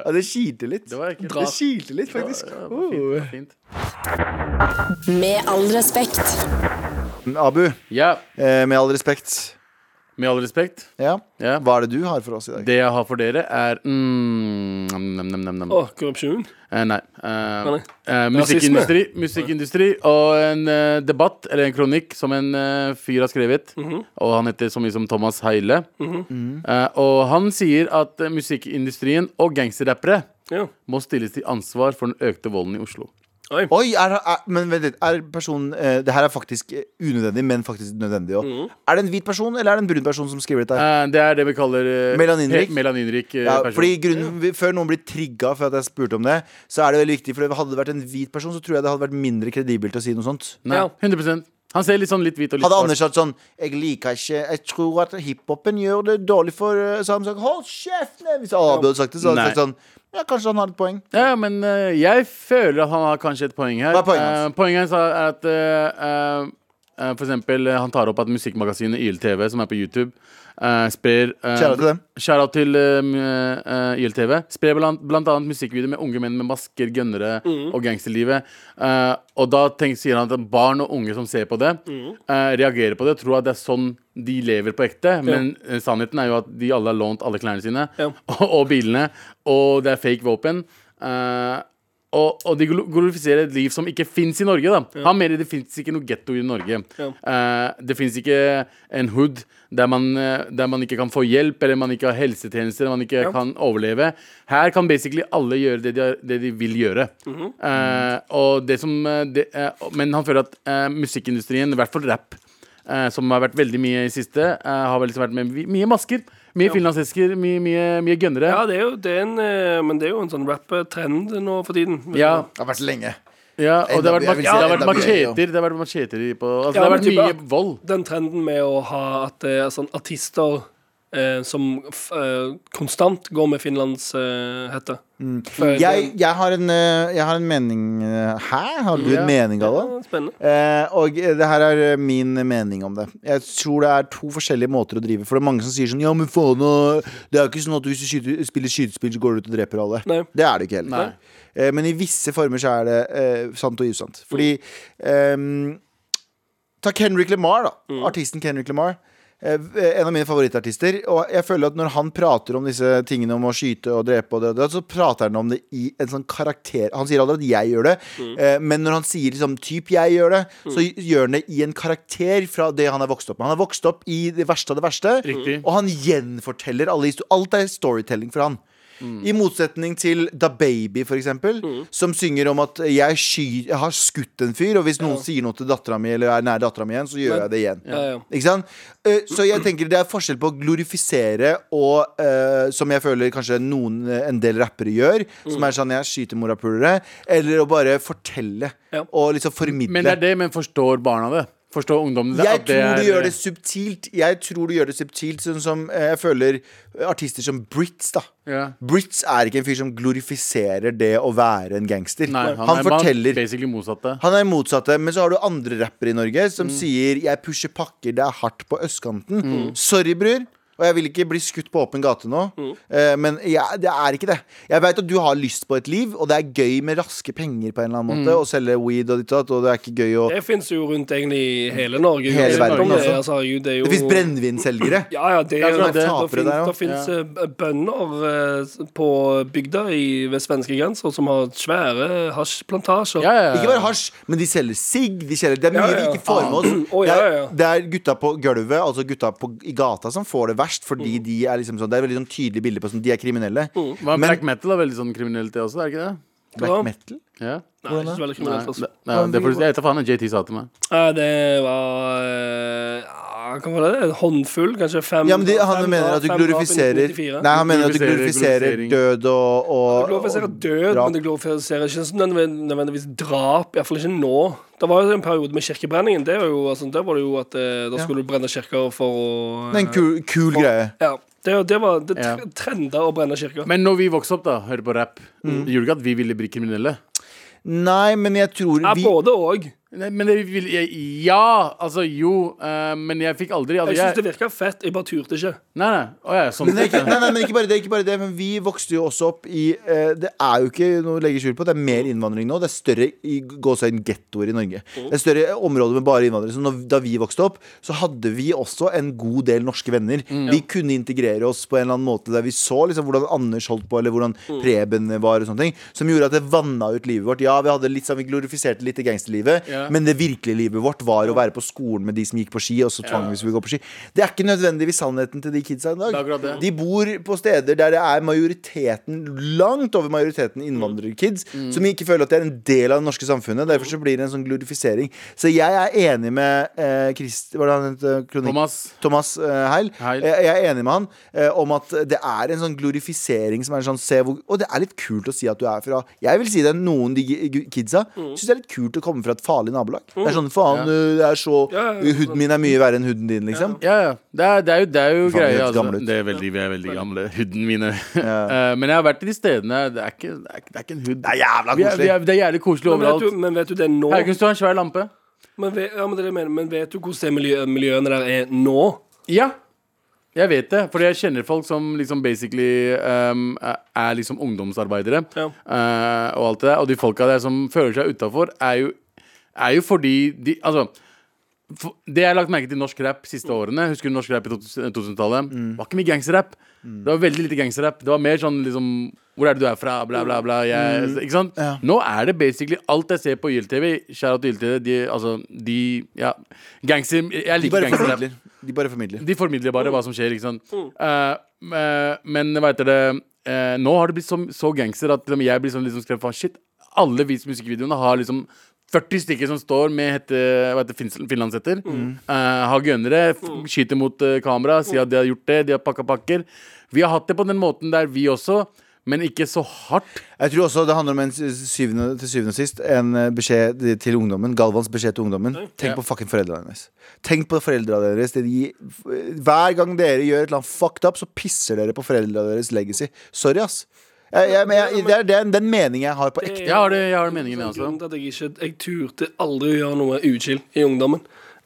[SPEAKER 2] Ja, det kilte litt.
[SPEAKER 4] Det var ikke
[SPEAKER 3] Dra.
[SPEAKER 2] Det kilte litt, faktisk.
[SPEAKER 4] Ja, det var fint, det var fint.
[SPEAKER 5] Med all respekt.
[SPEAKER 2] Abu,
[SPEAKER 4] Ja,
[SPEAKER 2] eh, med all respekt,
[SPEAKER 4] med all respekt.
[SPEAKER 2] ja.
[SPEAKER 4] Ja.
[SPEAKER 2] hva er det du har for oss i dag?
[SPEAKER 4] Det jeg har for dere, er mm, nam, nam, nam, nam, nam.
[SPEAKER 3] Å, korrupsjon.
[SPEAKER 4] Eh, nei. Eh,
[SPEAKER 3] nei.
[SPEAKER 4] eh, musikkindustri, musikkindustri og en eh, debatt, eller en kronikk, som en eh, fyr har skrevet. Og han heter så mye som Thomas Heile. Eh, og han sier at eh, musikkindustrien og gangsterrappere
[SPEAKER 3] Ja.
[SPEAKER 4] må stilles til ansvar for den økte volden i Oslo.
[SPEAKER 3] Oi.
[SPEAKER 2] Oi, er, er, men vent litt, er personen eh, Det her er faktisk eh, unødvendig, men faktisk nødvendig òg.
[SPEAKER 4] Mm.
[SPEAKER 2] Er det en hvit person, eller er det en brun person som skriver dette? her?
[SPEAKER 4] Eh, det er det vi kaller eh,
[SPEAKER 2] Melaninrik.
[SPEAKER 4] he- melaninrik eh,
[SPEAKER 2] Ja,
[SPEAKER 4] person.
[SPEAKER 2] fordi grunnen, vi- Før noen blir trigga for at jeg spurte om det, så er det veldig viktig. For hadde det vært en hvit person, så tror jeg det hadde vært mindre kredibelt å si noe sånt.
[SPEAKER 4] Nei,
[SPEAKER 3] Ja.
[SPEAKER 4] 100 Han ser litt sånn litt hvit og litt
[SPEAKER 2] Hadde
[SPEAKER 4] svart.
[SPEAKER 2] Anders hatt sånn Jeg liker ikke Jeg tror at hiphopen gjør det dårlig for eh», Så hadde han sagt Hold kjeft nei», Hvis Abu hadde sagt det Så hadde han sagt sånn Ja, kanskje han har et poeng
[SPEAKER 4] Ja, men eh, jeg føler at han har kanskje et poeng her.
[SPEAKER 2] Hva er poenget hans?
[SPEAKER 4] Eh, poenget hans er at eh, eh, eh, For eksempel, eh, han tar opp at musikkmagasinet YLTV, som er på YouTube, eh, sprer eh,
[SPEAKER 2] Shout out til dem.
[SPEAKER 4] shout out til, eh, m- eh, YLTV. Sprer blant, blant annet musikkvideoer med unge menn med masker, gønnere
[SPEAKER 2] Mm.
[SPEAKER 4] og gangsterlivet. Eh, og da tenk, sier han at barn og unge som ser på det,
[SPEAKER 2] Mm.
[SPEAKER 4] eh, reagerer på det, tror at det er sånn de lever på ekte. Men eh, sannheten er jo at de alle har lånt alle klærne sine
[SPEAKER 3] Ja.
[SPEAKER 4] [LAUGHS] og, og bilene, og det er fake våpen. Eh, og, og de glo- glorifiserer et liv som ikke fins i Norge. da Han mener det fins ikke noe getto i Norge. Eh, det fins ikke en hood der man, eh, der man ikke kan få hjelp, eller man ikke har helsetjenester, man ikke kan overleve. Her kan basically alle gjøre det de, har, det de vil gjøre. Eh, og det som eh, det, eh, Men han føler at eh, musikkindustrien, i hvert fall rap, eh, som har vært veldig mye i siste, eh, har vel liksom vært med vi- mye masker. Mye finlandshesker, mye, mye, mye gønnere.
[SPEAKER 3] Ja, det er jo, det er en, eh, men det er jo en sånn rap-trend nå for tiden.
[SPEAKER 4] ja,
[SPEAKER 2] Det har vært så lenge
[SPEAKER 4] Ja, og det har
[SPEAKER 2] Enda-
[SPEAKER 4] vært,
[SPEAKER 2] jeg vil
[SPEAKER 4] det
[SPEAKER 2] si
[SPEAKER 4] har vært
[SPEAKER 2] enda mye, ja.
[SPEAKER 4] macheter. Det har vært macheter i på Altså,
[SPEAKER 3] Ja,
[SPEAKER 4] det har
[SPEAKER 3] men
[SPEAKER 4] vært
[SPEAKER 3] type
[SPEAKER 4] mye
[SPEAKER 3] at-
[SPEAKER 4] vold.
[SPEAKER 3] Den trenden med å ha at det er sånn artister eh, som f, eh, konstant går med finlandshette. Eh, hette.
[SPEAKER 2] jeg, jeg, har en, eh, jeg har en mening eh, Hæ? Har du
[SPEAKER 4] Ja.
[SPEAKER 2] en mening, Galla?
[SPEAKER 3] Ja, Spennende.
[SPEAKER 2] Eh, og eh, det her er eh, min mening om det. Jeg tror det er to forskjellige måter å drive. For det er mange som sier sånn Ja, men faen, eh, det er jo ikke sånn at hvis du skyter, spiller skytespill, så går du ut og dreper alle.
[SPEAKER 3] Nei.
[SPEAKER 2] Det er det ikke heller. Eh, men i visse former så er det eh, sant og usant.
[SPEAKER 3] Mm.
[SPEAKER 2] Fordi eh, Ta Kendrick Lamar, da. Artisten Kendrick Lamar. eh, en av mine favorittartister. Og jeg føler at når han prater om disse tingene om å skyte og drepe, og det, og det, så prater han om det i en sånn karakter Han sier aldri at 'jeg gjør det',
[SPEAKER 3] Mm.
[SPEAKER 2] eh, men når han sier liksom typ 'jeg gjør det', så gjør han det i en karakter fra det han er vokst opp med. Han er vokst opp i det verste av det verste,
[SPEAKER 4] Riktig.
[SPEAKER 2] og han gjenforteller alle historier. Alt er storytelling for han. Mm. I motsetning til Da Baby, for eksempel,
[SPEAKER 4] Mm.
[SPEAKER 2] som synger om at jeg, sky, jeg har skutt en fyr, og hvis noen sier noe til dattera mi, eller er nær dattera mi igjen, så gjør
[SPEAKER 3] Men-
[SPEAKER 2] jeg det igjen.
[SPEAKER 3] Ja, ja.
[SPEAKER 2] Ikke sant? Eh, Så
[SPEAKER 4] [CLEARS THROAT]
[SPEAKER 2] jeg tenker det er forskjell på å glorifisere og eh, som jeg føler kanskje noen, eh, en del rappere gjør,
[SPEAKER 4] Mm.
[SPEAKER 2] som er sånn jeg skyter morapulere, eller å bare fortelle
[SPEAKER 3] Ja.
[SPEAKER 2] og liksom formidle.
[SPEAKER 4] Men det er det, men forstår barna det? Forstår ungdommen det?
[SPEAKER 2] Jeg
[SPEAKER 4] At
[SPEAKER 2] tror du
[SPEAKER 4] er-
[SPEAKER 2] gjør det subtilt. Jeg tror du gjør det subtilt, sånn som eh, jeg føler eh, artister som Brits, da.
[SPEAKER 4] Ja.
[SPEAKER 2] Brits er ikke en fyr som glorifiserer det å være en gangster.
[SPEAKER 4] Nei,
[SPEAKER 2] han,
[SPEAKER 4] han, er
[SPEAKER 2] forteller
[SPEAKER 4] basically motsatte.
[SPEAKER 2] han er motsatte, men så har du andre rappere i Norge som sier 'jeg pusher pakker, det er hardt på østkanten'. Sorry, bror. Og jeg vil ikke bli skutt på åpen gate nå, eh, men jeg, det er ikke det. Jeg veit at du har lyst på et liv, og det er gøy med raske penger på en eller annen måte, å selge weed og ditt og datt, og det er ikke gøy å
[SPEAKER 3] Det fins jo rundt egentlig i hele Norge.
[SPEAKER 2] Hele
[SPEAKER 3] uansett
[SPEAKER 2] verden
[SPEAKER 3] om det er-
[SPEAKER 2] også.
[SPEAKER 3] Altså, jo, det er jo-
[SPEAKER 2] Det fins brennevinselgere.
[SPEAKER 3] Ja, ja, det,
[SPEAKER 4] Jeg tror
[SPEAKER 3] er-
[SPEAKER 4] det er
[SPEAKER 3] det,
[SPEAKER 2] tapere der, ja.
[SPEAKER 3] fins bønder eh, på bygda i, ved svenskegrensa som har svære hasjplantasjer.
[SPEAKER 4] Ja, ja, ja.
[SPEAKER 2] Ikke bare hasj, men de selger sigg. De selger, det er mye
[SPEAKER 3] Eh. Ja, ja, ja. Ah.
[SPEAKER 2] vi ikke får med oss.
[SPEAKER 3] Å,
[SPEAKER 2] det,
[SPEAKER 3] ja, ja,
[SPEAKER 2] er,
[SPEAKER 3] ja.
[SPEAKER 2] det er gutta på gulvet, altså gutta på, i gata, som får det verst. Fordi
[SPEAKER 3] Mm.
[SPEAKER 2] de er liksom sånn, Det er veldig sånn tydelig bilde på sånn, de er kriminelle.
[SPEAKER 4] Men
[SPEAKER 2] Men-
[SPEAKER 4] black metal er veldig sånn kriminelt, det også, er det ikke det?
[SPEAKER 3] Ja.
[SPEAKER 2] Black metal?
[SPEAKER 4] Ja.
[SPEAKER 3] Nei, det er ikke så veldig
[SPEAKER 4] Nei,
[SPEAKER 3] kriminelt. Altså.
[SPEAKER 4] det, nei, det er for, jeg vet da faen hva JT sa til meg.
[SPEAKER 3] Nei, det var eh, ja, Hva var det? En håndfull? Kanskje fem?
[SPEAKER 2] Ja, men de, han
[SPEAKER 3] fem
[SPEAKER 2] mener
[SPEAKER 3] drap,
[SPEAKER 2] at du
[SPEAKER 3] fem drap i
[SPEAKER 2] glorifiserer
[SPEAKER 3] 1994.
[SPEAKER 2] Nei, han mener at du glorifiserer
[SPEAKER 4] Glorifiserer-
[SPEAKER 2] død og,
[SPEAKER 3] Det
[SPEAKER 2] og
[SPEAKER 3] glorifiserer
[SPEAKER 2] og
[SPEAKER 3] død,
[SPEAKER 2] drap.
[SPEAKER 3] men det glorifiserer ikke sånn nødvendig- nødvendigvis drap. Iallfall ikke nå. Det var jo en periode med kirkebrenningen. Det var jo, altså, der var det jo at eh, da skulle du brenne kirker for å eh,
[SPEAKER 2] Det er en kul, kul greie.
[SPEAKER 3] Ja. Det, det var det
[SPEAKER 4] Ja.
[SPEAKER 3] tre- trenda å brenne kirker.
[SPEAKER 4] Men når vi vokste opp, da, hørte på rap,
[SPEAKER 3] Mm.
[SPEAKER 4] gjorde ikke at vi ville bli kriminelle?
[SPEAKER 2] Nei, men jeg tror
[SPEAKER 3] Ja,
[SPEAKER 2] vi
[SPEAKER 3] både og.
[SPEAKER 4] Nei, men det vil jeg, Ja, altså jo, eh, men jeg fikk aldri, aldri
[SPEAKER 3] Jeg syns det
[SPEAKER 4] jeg,
[SPEAKER 3] virka fett, jeg bare turte ikke.
[SPEAKER 4] Nei, nei. Å, ja, sånn,
[SPEAKER 2] Men det er ikke, nei, nei, men ikke bare det, ikke bare det Men vi vokste jo også opp i eh, Det er jo ikke noe å legge skjul på Det er mer innvandring nå Det er større i gåsøyden gettoer i Norge
[SPEAKER 4] Mm.
[SPEAKER 2] Det er større områder med bare innvandrere Så når, da vi vokste opp Så hadde vi også en god del norske venner
[SPEAKER 4] Mm,
[SPEAKER 2] Vi kunne integrere oss på en eller annen måte Der vi så liksom hvordan Anders holdt på Eller hvordan
[SPEAKER 4] Mm.
[SPEAKER 2] Preben var og sånne ting Som gjorde at det vanna ut livet vårt Ja, vi hadde litt sånn Vi glorifiserte litt det gangsterlivet
[SPEAKER 4] Ja.
[SPEAKER 2] Men det virkelige livet vårt var å være på skolen Med de som gikk på ski Og så tvang vi oss til å gå på ski Det er ikke nødvendigvis sannheten til de kidsa i dag
[SPEAKER 4] Det er akkurat det.
[SPEAKER 2] de bor på steder der det er majoriteten, langt over majoriteten
[SPEAKER 4] Mm.
[SPEAKER 2] innvandrerkids, som ikke føler at de er en del av det norske samfunnet. Derfor så blir det en sånn glorifisering. Så jeg er enig med eh, Christ, Hva er det han heter? Kronik-
[SPEAKER 4] Thomas.
[SPEAKER 2] Thomas eh, Heil.
[SPEAKER 4] Heil.
[SPEAKER 2] Jeg, jeg er enig med han eh, om at det er en sånn glorifisering som er en sånn se hvor, Og det er litt kult å si at du er fra Jeg vil si det, noen de gi- gi- kidsa syns det er litt kult å komme fra et farlig nabolag. Det er sånn faen,
[SPEAKER 4] Mm. Ja.
[SPEAKER 2] eh, det er så
[SPEAKER 3] Ja, ja, ja.
[SPEAKER 2] Huden min er mye verre enn huden din, liksom.
[SPEAKER 4] Ja, ja. Det er, det er jo, det er jo
[SPEAKER 2] Faen, vi
[SPEAKER 4] greier.
[SPEAKER 2] høres
[SPEAKER 4] Altså.
[SPEAKER 2] gamle ut.
[SPEAKER 4] Det er veldig, vi er veldig gamle. Huden mine. [LAUGHS] Eh, men jeg har vært i de stedene. Det er ikke, det er, ikke- det er ikke en hud.
[SPEAKER 2] Det er jævla
[SPEAKER 4] Vi er, vi
[SPEAKER 2] koselig.
[SPEAKER 4] er, det er jævlig koselig
[SPEAKER 3] Men vet,
[SPEAKER 4] overalt.
[SPEAKER 3] du, men vet du det nå?
[SPEAKER 4] Haugen, du har en svær lampe.
[SPEAKER 3] Men vet, ja, men, det er det jeg mener. men vet du hvordan det miljø, miljøene der er nå?
[SPEAKER 4] Ja. Jeg vet det, fordi jeg kjenner folk som liksom basically ehm, er- er liksom ungdomsarbeidere.
[SPEAKER 3] Ja.
[SPEAKER 4] eh, og alt det der. Og de folka der som føler seg utafor, er, jo- er jo fordi de Altså. for- Det jeg har lagt merke til i norsk rap siste årene Husker du norsk rap i 2000- 2000-tallet?
[SPEAKER 2] Mm.
[SPEAKER 4] Det var ikke mye gangsterrap. Det var veldig lite gangsterrap. Det var mer sånn liksom Hvor er det du er fra? Bla, bla, bla. Jeg, Ikke sant?
[SPEAKER 2] Mm. Ja.
[SPEAKER 4] Nå er det basically alt jeg ser på YLTV. Shout out til YLTV. De, altså, de Ja. Gangster Jeg
[SPEAKER 2] De
[SPEAKER 4] liker
[SPEAKER 2] bare
[SPEAKER 4] gangsterrap.
[SPEAKER 2] formidler. De bare formidler.
[SPEAKER 4] De formidler bare hva som skjer, ikke sant. Eh, eh, men hva heter det eh, Nå har det blitt så, så gangster at liksom, jeg blir sånn liksom skrevet for shit. Alle vis musikkvideoene har liksom 40 stykker som står med hette, hva heter det, fin- finlandshetter. eh, har gønnere, f- skyter mot eh, kamera, sier at de har gjort det, de har pakka pakker. Vi har hatt det på den måten der, vi også, men ikke så hardt.
[SPEAKER 2] Jeg tror også det handler om en s- syvende, til syvende og sist En eh, beskjed til ungdommen Galvans beskjed til ungdommen Tenk
[SPEAKER 4] Ja.
[SPEAKER 2] på fucking foreldrene deres Tenk på foreldrene deres Det de, Hver gang dere gjør et eller annet fucked up Så pisser dere på foreldrene deres legacy Sorry ass jeg, jeg, men jeg, Det er den, den meningen jeg har på ekte
[SPEAKER 4] Jeg har det, jeg har det meningen, altså. jeg også.
[SPEAKER 3] Grunnen til at jeg ikke Jeg turte aldri å gjøre noe uchill i ungdommen.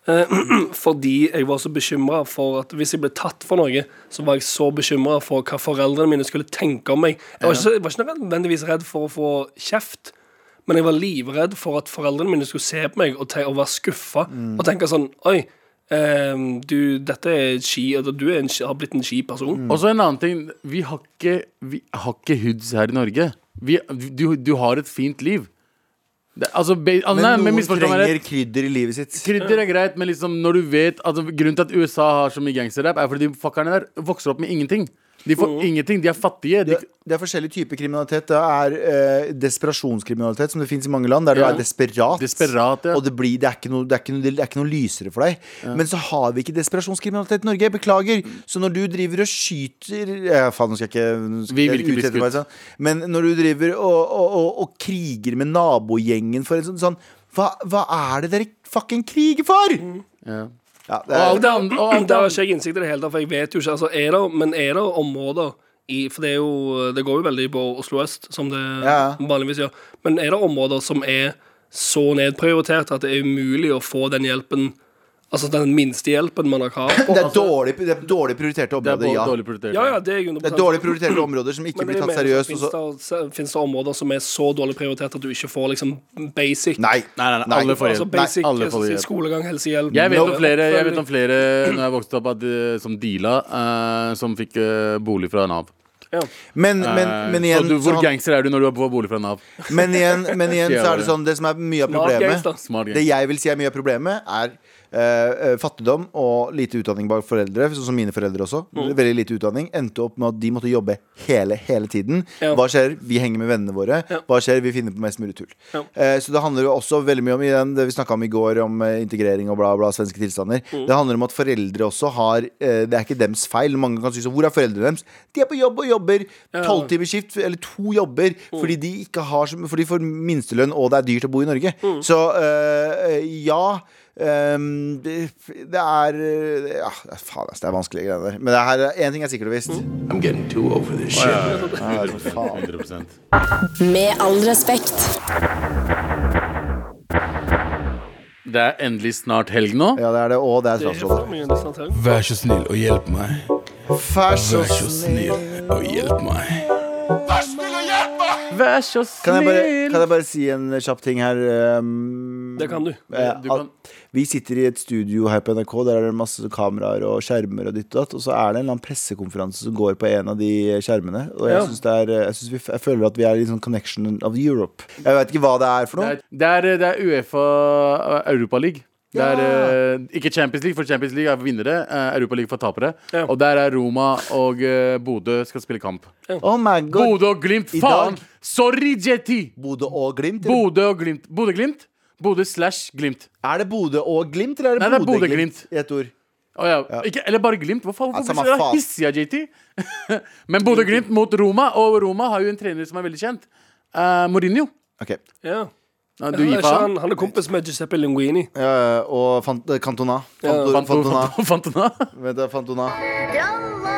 [SPEAKER 3] Eh, [CLEARS THROAT] fordi jeg var så bekymra for at hvis jeg ble tatt for noe, så var jeg så bekymra for hva foreldrene mine skulle tenke om meg. Jeg var ikke, så- jeg var ikke nødvendigvis redd for å få kjeft, men jeg var livredd for at foreldrene mine skulle se på meg og, te og være skuffa og tenke sånn Oi, ehm, du, dette er ski, altså, du er en, ski- har blitt en skiperson.
[SPEAKER 2] Mm.
[SPEAKER 4] Og så en annen ting. Vi har ikke, vi har ikke hoods her i Norge. Vi, du, du har et fint liv. Det, altså, be, altså, nei,
[SPEAKER 2] Men
[SPEAKER 4] men
[SPEAKER 2] noen
[SPEAKER 4] misforstå meg rett.
[SPEAKER 2] trenger krydder i livet sitt.
[SPEAKER 4] Krydder er greit, men liksom når du vet altså, Grunnen til at USA har så mye gangsterrap, er fordi de fuckerne der vokser opp med ingenting. De får ingenting. De er fattige. De,
[SPEAKER 2] Det, det er forskjellige typer kriminalitet. Det er eh, desperasjonskriminalitet, som det fins i mange land, der
[SPEAKER 4] Ja.
[SPEAKER 2] du er desperat.
[SPEAKER 4] Desperat, ja.
[SPEAKER 2] Og det, blir, det, er ikke noe, det, er ikke noe, det er ikke noe lysere for deg. Men så har vi ikke desperasjonskriminalitet i Norge. Beklager. Så når du driver og skyter eh, Faen, nå skal jeg ikke, nå skal
[SPEAKER 4] Vi
[SPEAKER 2] jeg
[SPEAKER 4] vil ikke bli
[SPEAKER 2] utrette meg,
[SPEAKER 4] skutt.
[SPEAKER 2] sånn. Men når du driver og, og, og, og kriger med nabogjengen for en sånn, sånn hva, hva er det dere fucking kriger for?!
[SPEAKER 4] ja.
[SPEAKER 2] Ja, det
[SPEAKER 4] Og alt
[SPEAKER 2] er,
[SPEAKER 4] det andre, og alt det
[SPEAKER 3] Der har
[SPEAKER 4] andre.
[SPEAKER 3] ikke jeg innsikt i det hele tatt, for jeg vet jo ikke. Altså, er det, men er det områder i For det, er jo, det går jo veldig på Oslo øst, som det
[SPEAKER 2] Ja, ja.
[SPEAKER 3] vanligvis gjør. Men er det områder som er så nedprioritert at det er umulig å få den hjelpen Altså den minste hjelpen man har
[SPEAKER 4] [COUGHS]
[SPEAKER 3] krav på?
[SPEAKER 2] det, er dårlig, det er dårlig prioriterte
[SPEAKER 4] altså- Det er
[SPEAKER 2] områder,
[SPEAKER 4] både
[SPEAKER 2] ja.
[SPEAKER 4] dårlig prioritert.
[SPEAKER 3] Ja, ja, det er 100
[SPEAKER 2] Det er dårlig prioriterte områder som ikke
[SPEAKER 3] Men
[SPEAKER 2] blir
[SPEAKER 3] jeg
[SPEAKER 2] tatt
[SPEAKER 3] mener,
[SPEAKER 2] seriøst. Og
[SPEAKER 3] Finnes
[SPEAKER 2] så,
[SPEAKER 3] det, finnes det områder som er så dårlig prioritert at du ikke får liksom basic
[SPEAKER 2] nei,
[SPEAKER 4] Nei, nei, nei, alle får
[SPEAKER 3] Altså
[SPEAKER 4] hjelp.
[SPEAKER 3] basic
[SPEAKER 4] nei, alle får
[SPEAKER 3] altså,
[SPEAKER 4] hjelp.
[SPEAKER 3] skolegang, helsehjelp
[SPEAKER 4] Jeg vet, om
[SPEAKER 3] oppfølging.
[SPEAKER 4] flere, jeg vet om flere når jeg vokste opp, at, eh, som deala, eh, som fikk eh, bolig fra Nav.
[SPEAKER 3] ja.
[SPEAKER 2] Men, men,
[SPEAKER 4] Eh,
[SPEAKER 2] men igjen
[SPEAKER 4] så du,
[SPEAKER 2] så
[SPEAKER 4] hvor
[SPEAKER 2] han-
[SPEAKER 4] gangster er du når du får bolig fra Nav?
[SPEAKER 2] Men igjen, men igjen så er det
[SPEAKER 4] Fjerde.
[SPEAKER 2] sånn Det som er mye av
[SPEAKER 3] Smart games,
[SPEAKER 2] problemet
[SPEAKER 3] da.
[SPEAKER 4] Smart
[SPEAKER 2] Det
[SPEAKER 4] gangster.
[SPEAKER 2] jeg vil si er mye av problemet er eh, eh, fattigdom og lite utdanning bak foreldre, sånn som mine foreldre også.
[SPEAKER 3] Mm.
[SPEAKER 2] Veldig lite utdanning. Endte opp med at de måtte jobbe hele, hele tiden.
[SPEAKER 3] Ja.
[SPEAKER 2] Hva skjer? Vi henger med vennene våre.
[SPEAKER 3] Ja.
[SPEAKER 2] Hva skjer? Vi finner på mest mulig tull.
[SPEAKER 3] Ja.
[SPEAKER 2] Eh, så det handler jo også veldig mye om igjen, det vi snakka om i går, om eh, integrering og bla, bla, svenske tilstander.
[SPEAKER 3] Mm.
[SPEAKER 2] Det handler om at foreldre også har eh, Det er ikke dems feil. Mange kan synes Hvor er foreldrene deres? De er på jobb og jobber. Tolvtimersskift, eller to jobber, fordi de ikke har så- Fordi de får minstelønn, og det er dyrt å bo i Norge. Så eh, ja. ehm, det, det er eh, ja, Faen, ass, det er vanskelige greier der. Men det her, én ting er sikkert og visst.
[SPEAKER 6] I'm getting too over this shit.
[SPEAKER 2] Ja, faen.
[SPEAKER 4] 100%.
[SPEAKER 7] Med all respekt.
[SPEAKER 4] Det er endelig snart helg nå.
[SPEAKER 2] Ja, det er det. Og det er
[SPEAKER 3] Det er for
[SPEAKER 2] straffsådd.
[SPEAKER 3] mye distrahering.
[SPEAKER 6] Vær så snill og hjelp meg.
[SPEAKER 2] Vær så
[SPEAKER 6] Vær så snill og hjelp meg.
[SPEAKER 4] Vær så snill!
[SPEAKER 2] Kan jeg, bare, kan jeg bare si en kjapp ting her? ehm,
[SPEAKER 3] Det kan du
[SPEAKER 2] eh,
[SPEAKER 4] Du kan-
[SPEAKER 2] at Vi sitter i et studio her på NRK, der er det masse kameraer og skjermer og ditt og datt, og så er det en eller annen pressekonferanse som går på en av de skjermene, og jeg,
[SPEAKER 3] Ja.
[SPEAKER 2] synes det er, jeg, synes vi, jeg føler at vi er i en sånn connection of Europe. Jeg vet ikke hva det er for
[SPEAKER 4] Det
[SPEAKER 2] noe.
[SPEAKER 4] er, det er, det er Uefa eh, Europa League. Det er, eh, ikke Champions League, for Champions League er for vinnere. eh, Europa League for tapere.
[SPEAKER 3] Ja.
[SPEAKER 4] Og der er Roma og eh, Bodø skal spille kamp.
[SPEAKER 2] Oh my god.
[SPEAKER 4] Bodø og Glimt,
[SPEAKER 2] I
[SPEAKER 4] faen!
[SPEAKER 2] dag-
[SPEAKER 4] Sorry, Jetty!
[SPEAKER 2] Bodø og Glimt? eller?
[SPEAKER 4] Bodø og Glimt. Bodø-Glimt? Bodø slash Glimt.
[SPEAKER 2] Er det Bodø og Glimt, eller
[SPEAKER 4] Nei,
[SPEAKER 2] er det
[SPEAKER 4] det er
[SPEAKER 2] Bodø-Glimt?
[SPEAKER 4] Bodø-Glimt.
[SPEAKER 2] I ett ord.
[SPEAKER 4] Å ja. Ikke, eller bare Glimt. Hva faen,
[SPEAKER 2] Ja,
[SPEAKER 6] Altså,
[SPEAKER 4] hvorfor
[SPEAKER 2] samme
[SPEAKER 4] blir
[SPEAKER 2] faen.
[SPEAKER 4] du hissig av JT? [LAUGHS] Men Bodø-Glimt mot Roma, og Roma har jo en trener som er veldig kjent. Eh, Mourinho.
[SPEAKER 2] Ok.
[SPEAKER 3] ja.
[SPEAKER 4] Ja, Du
[SPEAKER 3] Ja,
[SPEAKER 4] gir
[SPEAKER 3] ikke
[SPEAKER 4] faen.
[SPEAKER 3] han, han er kompis med Giuseppe Linguini
[SPEAKER 2] Eh, og Fant Cantona. Fantor- Fantona.
[SPEAKER 4] [LAUGHS] Fantona. Fantona.
[SPEAKER 2] Vent, da, Fantona.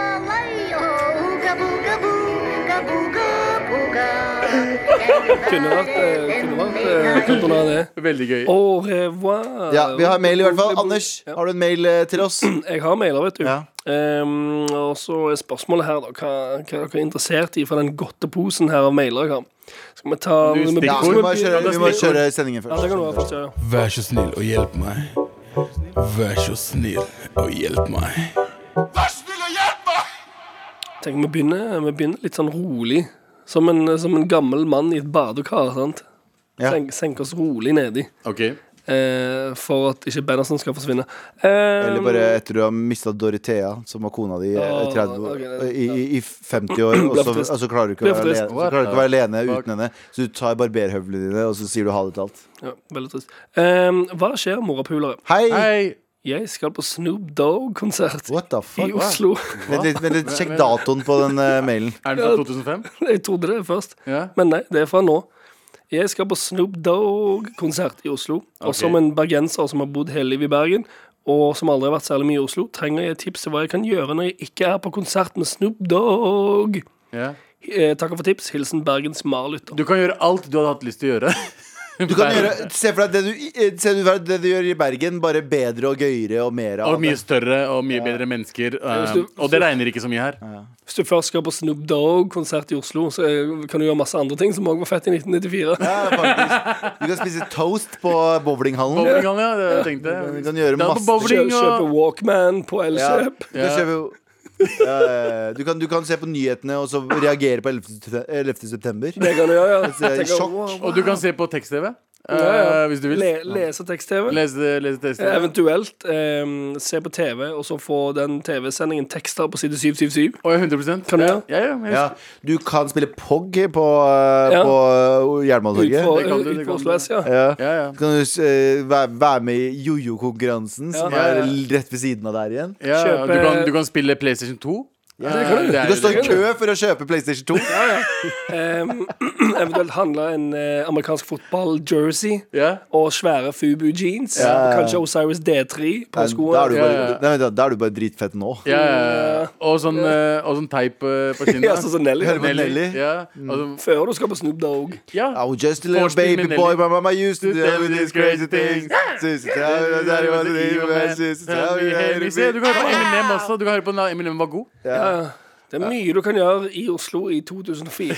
[SPEAKER 3] Kunne vært, eh, kunne vært eh, Cantona det
[SPEAKER 4] Veldig gøy.
[SPEAKER 3] Au revoir
[SPEAKER 2] Ja, vi har mail i hvert fall. Anders, har du en mail eh, til oss?
[SPEAKER 3] Jeg har mailer, vet du
[SPEAKER 2] Ja.
[SPEAKER 3] Ehm, Og så er spørsmålet her da Hva, hva dere er interessert i fra den godteposen her av mailer jeg har Skal vi ta
[SPEAKER 4] Du,
[SPEAKER 3] vi må-
[SPEAKER 2] Ja,
[SPEAKER 4] stikkord.
[SPEAKER 3] skal
[SPEAKER 2] vi må kjøre, vi må kjøre sendingen
[SPEAKER 3] Ja, det kan du ha
[SPEAKER 2] først.
[SPEAKER 3] først, ja, ja.
[SPEAKER 6] Vær så snill og hjelp meg. Vær så snill og hjelp meg.
[SPEAKER 3] Tenk, vi begynner, vi begynner litt sånn rolig. Som en, som en gammel mann i et badekar. sant?
[SPEAKER 2] Ja.
[SPEAKER 3] Senk, senk oss rolig nedi.
[SPEAKER 4] Ok.
[SPEAKER 3] Eh, for at ikke Bennerson skal forsvinne. Eh,
[SPEAKER 2] Eller bare etter du har mista Dorothea, som var kona di i,
[SPEAKER 3] Åh,
[SPEAKER 2] 30,
[SPEAKER 3] ok,
[SPEAKER 2] år-
[SPEAKER 3] det-
[SPEAKER 2] i, i, i 50 år, og så,
[SPEAKER 3] trist.
[SPEAKER 2] og så klarer du ikke å
[SPEAKER 3] Ble
[SPEAKER 2] være
[SPEAKER 3] for trist.
[SPEAKER 2] alene, så klarer du ikke å være alene
[SPEAKER 4] Fuck.
[SPEAKER 2] uten henne. Så du tar barberhøvlene dine, og så sier du ha det til alt.
[SPEAKER 3] ja, Veldig trist. Eh, hva skjer, morapulere?
[SPEAKER 2] Hei!
[SPEAKER 4] Hei!
[SPEAKER 3] Jeg skal på Snoop Dogg-konsert
[SPEAKER 2] What the
[SPEAKER 3] i
[SPEAKER 2] fuck?
[SPEAKER 3] Oslo. [LAUGHS]
[SPEAKER 2] Vent litt, vent litt, sjekk datoen på den eh, mailen.
[SPEAKER 4] Er den fra 2005?
[SPEAKER 3] Jeg trodde det først,
[SPEAKER 4] Ja.
[SPEAKER 3] men nei, det er fra nå. Jeg skal på Snoop Dogg-konsert i Oslo. Og
[SPEAKER 4] Ok.
[SPEAKER 3] som en bergenser som har bodd hele livet i Bergen, og som aldri har vært særlig mye i Oslo, trenger jeg et tips til hva jeg kan gjøre når jeg ikke er på konsert med Snoop Dogg.
[SPEAKER 4] Ja.
[SPEAKER 3] Eh, takker for tips. Hilsen Bergens Marlytter.
[SPEAKER 4] Du kan gjøre alt du hadde hatt lyst til å gjøre.
[SPEAKER 2] Du
[SPEAKER 4] [LAUGHS]
[SPEAKER 2] kan gjøre, se for deg det du, eh, se for deg det du gjør i Bergen, bare bedre og gøyere og mer av
[SPEAKER 4] Og mye
[SPEAKER 2] det.
[SPEAKER 4] større og mye bedre mennesker. eh,
[SPEAKER 3] du-
[SPEAKER 4] og det regner ikke så mye her.
[SPEAKER 3] Hvis du først skal på Snoop Dogg-konsert i Oslo, så eh, kan du gjøre masse andre ting som òg var fett i 1994.
[SPEAKER 2] Ja, faktisk. Du kan spise toast på bowlinghallen.
[SPEAKER 4] Bowling, ja, det jeg tenkte
[SPEAKER 2] Du kan gjøre
[SPEAKER 4] Det er på
[SPEAKER 2] masse
[SPEAKER 4] bowling
[SPEAKER 3] Kjø,
[SPEAKER 4] og-
[SPEAKER 3] kjøpe Walkman på Elkjøp.
[SPEAKER 2] Ja. Det skjer jo. Ja, ja, ja. du, kan, du kan se på nyhetene og så reagere på 11. septe- 11. september.
[SPEAKER 3] Det kan du gjøre, ja.
[SPEAKER 2] Så jeg er i
[SPEAKER 3] Tenker,
[SPEAKER 2] sjokk.
[SPEAKER 3] wow.
[SPEAKER 4] Og du kan se på tekst-TV eh,
[SPEAKER 3] Ja, ja.
[SPEAKER 4] hvis du vil. eh,
[SPEAKER 3] Le, lese tekst-TV.
[SPEAKER 4] Lese, lese tekst-TV.
[SPEAKER 3] Eventuelt eh, se på TV, og så få den TV-sendingen tekster på side 777.
[SPEAKER 4] Å, ja, 100
[SPEAKER 3] Kan du gjøre?
[SPEAKER 4] Ja, ja, jeg-
[SPEAKER 2] Ja, du kan spille POG på, eh,
[SPEAKER 3] Ja.
[SPEAKER 2] på eh,
[SPEAKER 3] Ut
[SPEAKER 2] Jernbanetorget.
[SPEAKER 3] fra-
[SPEAKER 4] det kan du, det
[SPEAKER 3] ut fra
[SPEAKER 4] kan
[SPEAKER 3] Oslo
[SPEAKER 4] du.
[SPEAKER 3] S, ja.
[SPEAKER 2] Ja.
[SPEAKER 4] ja, ja.
[SPEAKER 2] Så kan du eh, være, være med i jojo-konkurransen, som
[SPEAKER 4] Ja, ja.
[SPEAKER 2] er l- rett ved siden av der igjen.
[SPEAKER 4] ja, ja. Du,
[SPEAKER 3] Kjøpe-
[SPEAKER 4] kan, du kan spille PlayStation 2.
[SPEAKER 3] Det kan du.
[SPEAKER 4] Det er
[SPEAKER 2] Du kan stå
[SPEAKER 4] jo-
[SPEAKER 2] i kø for å kjøpe PlayStation 2.
[SPEAKER 3] Em, [CLEARS THROAT] eventuelt handle en eh, amerikansk fotball-jersey
[SPEAKER 4] Ja.
[SPEAKER 3] og svære Fubu-jeans.
[SPEAKER 2] Ja.
[SPEAKER 3] Kanskje Osiris D3 på
[SPEAKER 2] Nei, Da er du
[SPEAKER 3] skoene.
[SPEAKER 2] bare,
[SPEAKER 4] Ja, ja.
[SPEAKER 2] nei, vent da, da er du bare dritfett nå.
[SPEAKER 4] Ja, ja, ja. Og sånn, eh, og sånn teip eh, på kinnet.
[SPEAKER 3] Ja, sånn som Nelly.
[SPEAKER 2] Hører på Nelly. Mm.
[SPEAKER 4] Ja. og så-
[SPEAKER 3] Før du skal på Snoop Dogg.
[SPEAKER 4] ja.
[SPEAKER 2] I was just a little
[SPEAKER 4] Forspill
[SPEAKER 2] baby
[SPEAKER 4] med Nelly.
[SPEAKER 2] boy, my mama used to
[SPEAKER 4] Do
[SPEAKER 2] do these crazy things. Sister, tell me that it was an evil man. Sister, tell me that it was
[SPEAKER 4] Se, Du kan høre på Eminem også. Du kan høre på da Eminem var god.
[SPEAKER 3] Det er mye du kan gjøre i Oslo
[SPEAKER 2] [LAUGHS]
[SPEAKER 3] i 2004.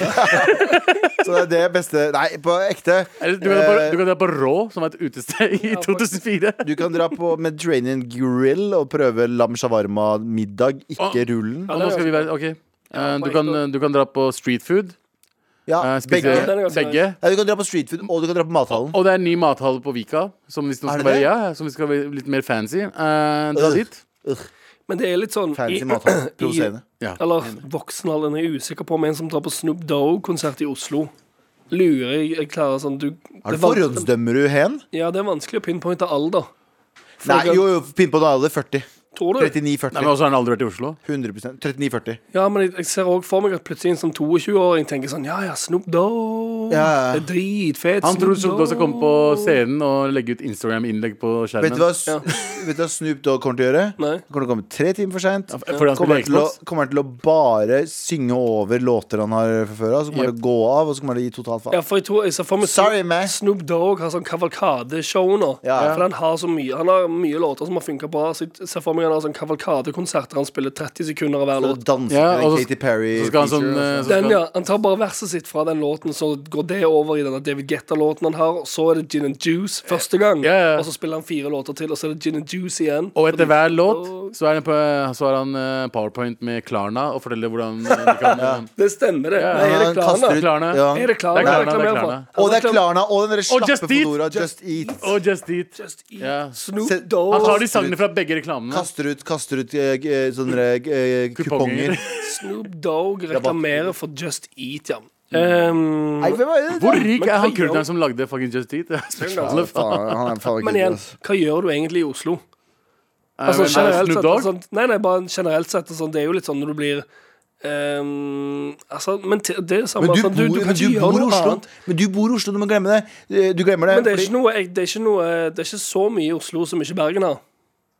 [SPEAKER 2] Så det er det beste Nei, på ekte.
[SPEAKER 4] Eller Du kan dra på-
[SPEAKER 2] Eh,
[SPEAKER 4] du kan dra på Raw, som var et utested i 2004.
[SPEAKER 2] Du kan dra på Mediterranean Grill og prøve lam shawarma-middag, ikke rullen.
[SPEAKER 4] Og nå skal vi være OK. Eh, Du kan, du kan dra på street food.
[SPEAKER 2] Ja,
[SPEAKER 4] eh, Spise
[SPEAKER 2] begge.
[SPEAKER 3] den er ganske
[SPEAKER 4] begge.
[SPEAKER 2] Ja, du kan dra på streetfood, og du kan dra på mathallen.
[SPEAKER 4] Og det er en ny mathall på Vika, som hvis noen
[SPEAKER 2] Er
[SPEAKER 4] skal
[SPEAKER 2] det
[SPEAKER 4] være,
[SPEAKER 2] det?
[SPEAKER 4] ja, som hvis skal være litt mer fancy. Eh, dra
[SPEAKER 2] Øh.
[SPEAKER 4] dit.
[SPEAKER 3] Men det er litt sånn
[SPEAKER 2] Fancy
[SPEAKER 3] [CLEARS THROAT] i-
[SPEAKER 2] mathall.
[SPEAKER 3] i-
[SPEAKER 2] Provoserende.
[SPEAKER 4] Ja.
[SPEAKER 3] Eller voksenalderen er jeg usikker på, men en som drar på Snoop Dogg-konsert i Oslo. Lurer jeg, jeg klarer sånn du,
[SPEAKER 2] Er
[SPEAKER 3] det
[SPEAKER 2] det
[SPEAKER 3] van-
[SPEAKER 2] Forhåndsdømmer du hen?
[SPEAKER 3] Ja, det er vanskelig å pinpointe alder.
[SPEAKER 2] Nei, jo, jo, pinn på en alder 40.
[SPEAKER 3] Tror du?
[SPEAKER 2] 39-40.
[SPEAKER 4] Nei, men også har han aldri vært i Oslo.
[SPEAKER 2] 100 39-40.
[SPEAKER 3] Ja, men jeg, jeg ser òg for meg at plutselig en som 22-åring tenker sånn Ja, ja, Snoop Dogg.
[SPEAKER 2] Ja, ja.
[SPEAKER 3] Det er dritfett.
[SPEAKER 4] Han tror Snoop Dogg skal komme på scenen og legge ut Instagram-innlegg på
[SPEAKER 2] Vet
[SPEAKER 4] skjermen.
[SPEAKER 2] du hva, s- vet du hva Snoop Dogg kommer til å gjøre?
[SPEAKER 3] Nei.
[SPEAKER 2] Han kommer til å komme tre timer for seint.
[SPEAKER 4] f- fordi
[SPEAKER 2] Kommer
[SPEAKER 4] han spiller
[SPEAKER 2] han til å-
[SPEAKER 4] Xbox?
[SPEAKER 2] kommer han til å bare synge over låter han har forføra, så kommer han til å gå av, og så kommer han til å gi totalt faen.
[SPEAKER 3] Ja, for jeg tror jeg ser for meg
[SPEAKER 2] Sorry, man.
[SPEAKER 3] Snoop Dogg har sånn kavalkadeshow nå.
[SPEAKER 2] Ja, ja.
[SPEAKER 3] For han har så mye Han har mye låter som har funka bra. Så jeg ser for meg han har sånn kavalkadekonserter. Han spiller 30 sekunder av hver
[SPEAKER 2] Så
[SPEAKER 3] låt.
[SPEAKER 2] danser
[SPEAKER 4] Ja,
[SPEAKER 2] til
[SPEAKER 4] og
[SPEAKER 2] en
[SPEAKER 4] så-
[SPEAKER 2] Katy Perry.
[SPEAKER 4] så skal han sånn,
[SPEAKER 2] feature, altså. og så-
[SPEAKER 4] eh, så
[SPEAKER 3] Den,
[SPEAKER 4] skal han-
[SPEAKER 3] ja. Han tar bare verset sitt fra den låten, så går det over i denne David Guetta-låten han har. Og så er det Gin and Juice første gang,
[SPEAKER 4] Ja, ja.
[SPEAKER 3] og så spiller han fire låter til, og så er det Gin and Juice igjen.
[SPEAKER 4] Og etter hver låt
[SPEAKER 3] Dogg.
[SPEAKER 4] så er, han på, så har han eh, powerpoint med Klarna og forteller hvordan eh, de kan eh,
[SPEAKER 3] Det stemmer, det. Nei, er det
[SPEAKER 2] han kaster ut-
[SPEAKER 3] Klarna?
[SPEAKER 4] Klarna.
[SPEAKER 2] Ja.
[SPEAKER 3] Er det Klarna?
[SPEAKER 4] Det er Klarna,
[SPEAKER 3] jeg reklamerer
[SPEAKER 4] det er
[SPEAKER 3] for?
[SPEAKER 4] Klarna.
[SPEAKER 2] Og det er
[SPEAKER 3] Altså,
[SPEAKER 2] Klarna og den der slappe
[SPEAKER 4] Just Eat!
[SPEAKER 2] fodora Just Eat.
[SPEAKER 4] Og Just Eat.
[SPEAKER 3] Just Eat,
[SPEAKER 4] Ja.
[SPEAKER 3] Snoop
[SPEAKER 2] Se-
[SPEAKER 3] Dogg.
[SPEAKER 4] Han tar de sangene fra begge reklamene.
[SPEAKER 2] Kaster ut, kaster ut eh, eh, sånne eh, kuponger.
[SPEAKER 4] [LAUGHS] Kuponger.
[SPEAKER 3] Snoop Dogg reklamerer for Just Eat, ja.
[SPEAKER 4] Mm.
[SPEAKER 3] Ehm,
[SPEAKER 2] Nei, hvem er det?
[SPEAKER 4] Hvor rik
[SPEAKER 3] Men
[SPEAKER 4] er han
[SPEAKER 3] hva gjør-
[SPEAKER 4] kurden som lagde fucking Just Eat?
[SPEAKER 2] Ja,
[SPEAKER 4] Spørsmålet.
[SPEAKER 2] faen, han er faen ikke
[SPEAKER 3] men igjen,
[SPEAKER 2] altså.
[SPEAKER 3] hva gjør du egentlig i Oslo?
[SPEAKER 4] Eh,
[SPEAKER 3] Altså
[SPEAKER 4] men er
[SPEAKER 3] generelt
[SPEAKER 4] Snoop
[SPEAKER 3] sett
[SPEAKER 4] Dogg?
[SPEAKER 3] sånn, Nei, nei, bare generelt sett og sånn, Det er jo litt sånn når du blir ehm, altså, men te- det er samme
[SPEAKER 2] Men du
[SPEAKER 3] sånn, du,
[SPEAKER 2] bor,
[SPEAKER 3] du kan
[SPEAKER 2] men du
[SPEAKER 3] ikke gjøre
[SPEAKER 2] bor i
[SPEAKER 3] noe
[SPEAKER 2] Oslo.
[SPEAKER 3] annet.
[SPEAKER 2] Men du bor i Oslo, du må glemme det. Eh, Du glemmer det.
[SPEAKER 3] Men det er,
[SPEAKER 2] fordi-
[SPEAKER 3] ikke noe, jeg- det, er ikke noe, det er ikke så mye i Oslo som ikke Bergen har.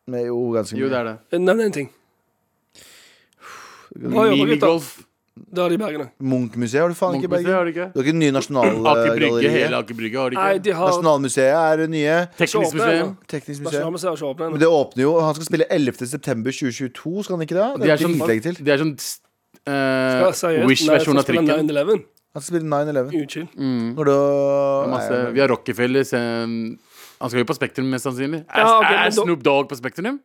[SPEAKER 2] Nei, Jo, ganske
[SPEAKER 4] Jo,
[SPEAKER 2] mye.
[SPEAKER 4] det er det.
[SPEAKER 3] Nevn én ting. Bra jobba, gutter.
[SPEAKER 4] Minigolf.
[SPEAKER 3] Da er de i Bergen. da.
[SPEAKER 2] Munchmuseet har du faen ikke i
[SPEAKER 4] Munchmuseet
[SPEAKER 2] Bergen.
[SPEAKER 4] har de ikke.
[SPEAKER 2] Du har ikke nye
[SPEAKER 4] Aker Brygge, hele
[SPEAKER 2] nasjonalgalleriet.
[SPEAKER 4] Aker Brygge har de
[SPEAKER 3] Nei,
[SPEAKER 4] ikke.
[SPEAKER 3] de har
[SPEAKER 2] Nasjonalmuseet er det nye.
[SPEAKER 4] Teknisk museum.
[SPEAKER 2] Teknisk museum.
[SPEAKER 3] Nasjonalmuseet har ikke åpnet
[SPEAKER 2] Men
[SPEAKER 3] ennå.
[SPEAKER 2] det åpner jo. Han skal spille 11.9.2022, skal han ikke det?
[SPEAKER 4] De
[SPEAKER 2] Det
[SPEAKER 4] er
[SPEAKER 2] er
[SPEAKER 4] sånn,
[SPEAKER 2] dritlegg til.
[SPEAKER 4] de er sånn eh,
[SPEAKER 3] Ja, seriøst,
[SPEAKER 4] Wish-versjon
[SPEAKER 3] nei,
[SPEAKER 4] av trikken.
[SPEAKER 3] så spiller 9-11.
[SPEAKER 2] Han skal spille 9-11.
[SPEAKER 3] Unnskyld.
[SPEAKER 2] Går det å-
[SPEAKER 4] Masse,
[SPEAKER 2] Nei,
[SPEAKER 4] vi har Rockefeller. se- Han skal jo på Spektrum, mest sannsynlig. Er,
[SPEAKER 3] Ja, ok, men
[SPEAKER 4] er
[SPEAKER 3] da- Eh,
[SPEAKER 4] Snoop Dogg på Spektrum?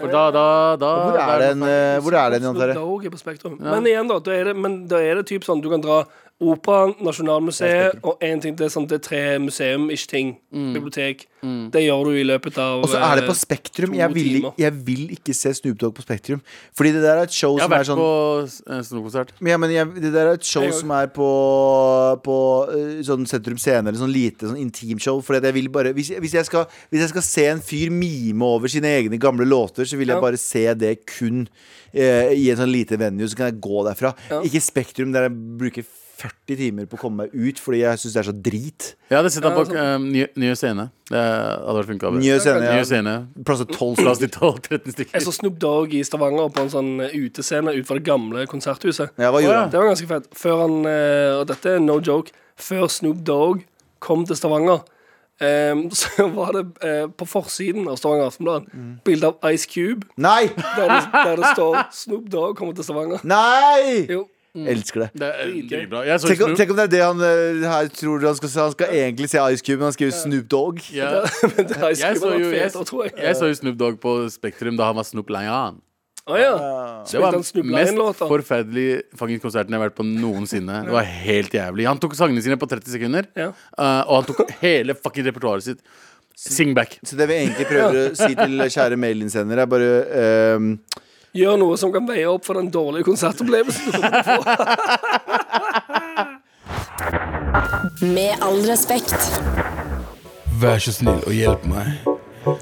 [SPEAKER 4] For da, da, da
[SPEAKER 2] Hvor er
[SPEAKER 4] da
[SPEAKER 2] den, eh, hvor er den Jan Terje?
[SPEAKER 3] Snoop Dogg er på Spektrum. Men igjen, da. Da er det, men da er det typ sånn du kan dra Operaen, Nasjonalmuseet og en ting til. Sånn, det er tre museum-ish-ting. Bibliotek. Det gjør du i løpet av
[SPEAKER 2] Og så er det på
[SPEAKER 3] eh,
[SPEAKER 2] Spektrum.
[SPEAKER 3] to
[SPEAKER 2] Jeg vil,
[SPEAKER 3] timer.
[SPEAKER 2] jeg vil ikke se Snoop Dogg på Spektrum. Fordi det der er et show
[SPEAKER 4] Jeg har
[SPEAKER 2] som er sånn
[SPEAKER 4] vært på eh, Snoop-konsert.
[SPEAKER 2] Men jeg, mener, jeg, det der er et show
[SPEAKER 3] Jeg òg.
[SPEAKER 2] som er på, på eh, sånn sentrum scene, eller sånn lite sånn intimshow. Fordi at jeg vil bare, hvis, jeg- hvis, jeg skal, hvis jeg skal se en fyr mime over sine egne gamle låter, så vil jeg
[SPEAKER 3] Ja.
[SPEAKER 2] bare se det kun eh, i en sånn lite venue, så kan jeg gå derfra.
[SPEAKER 3] Ja.
[SPEAKER 2] Ikke Spektrum, der jeg bruker 40 timer på å komme meg ut fordi jeg syns det er så drit.
[SPEAKER 4] Jeg hadde sett ham
[SPEAKER 3] Ja, sånn-
[SPEAKER 4] på eh, Nye, nye Scene. Det hadde vært funka.
[SPEAKER 2] Nye Scene, ja.
[SPEAKER 4] Nye scene.
[SPEAKER 2] Plass til tolv
[SPEAKER 4] Plass til 12-13
[SPEAKER 3] Jeg
[SPEAKER 4] stykker.
[SPEAKER 3] så Snoop Dogg i Stavanger på en sånn utescene utenfor det gamle konserthuset.
[SPEAKER 2] Ja, hva gjorde
[SPEAKER 4] ja.
[SPEAKER 2] han?
[SPEAKER 3] Det var ganske fett. Før han eh, Og dette er no joke. Før Snoop Dogg kom til Stavanger, em, [LAUGHS] så var det eh, på forsiden av Stavanger Aftenblad
[SPEAKER 2] Mm.
[SPEAKER 3] bilde av Ice Cube,
[SPEAKER 2] Nei!
[SPEAKER 3] der det, der det står 'Snoop Dogg kommer til Stavanger'.
[SPEAKER 2] Nei!
[SPEAKER 3] Jo.
[SPEAKER 2] Elsker det.
[SPEAKER 4] Det er dritbra. Jeg så
[SPEAKER 2] Tenk om,
[SPEAKER 4] Snoop.
[SPEAKER 2] tenk om det er det han eh, her tror han skal si. Han skal egentlig si Ice Cube, men han skriver Snoop Dogg.
[SPEAKER 4] [LAUGHS] Ja.
[SPEAKER 3] Men det Ice
[SPEAKER 4] Jeg
[SPEAKER 3] Cube
[SPEAKER 4] så
[SPEAKER 3] hadde
[SPEAKER 4] jo
[SPEAKER 3] vært
[SPEAKER 4] jeg,
[SPEAKER 3] fetere, tror jeg.
[SPEAKER 4] jeg så jo Snoop Dogg på Spektrum da han var Snoop Lion.
[SPEAKER 3] Å ja.
[SPEAKER 4] Det var
[SPEAKER 3] Spilte han Snoop
[SPEAKER 4] mest
[SPEAKER 3] Lion-låta?
[SPEAKER 4] forferdelige fucking konserten jeg har vært på noensinne. Det var helt jævlig. Han tok sangene sine på 30 sekunder,
[SPEAKER 3] Ja.
[SPEAKER 4] eh, og han tok hele fucking repertoaret sitt. Sing back.
[SPEAKER 2] Så det vi egentlig prøver å si til kjære mailinnsender, er bare ehm,
[SPEAKER 3] Gjør noe som kan veie opp for den dårlige konsertopplevelsen. du kommer til å få.
[SPEAKER 7] Med all respekt.
[SPEAKER 6] Vær så snill og hjelp meg.
[SPEAKER 2] Ja,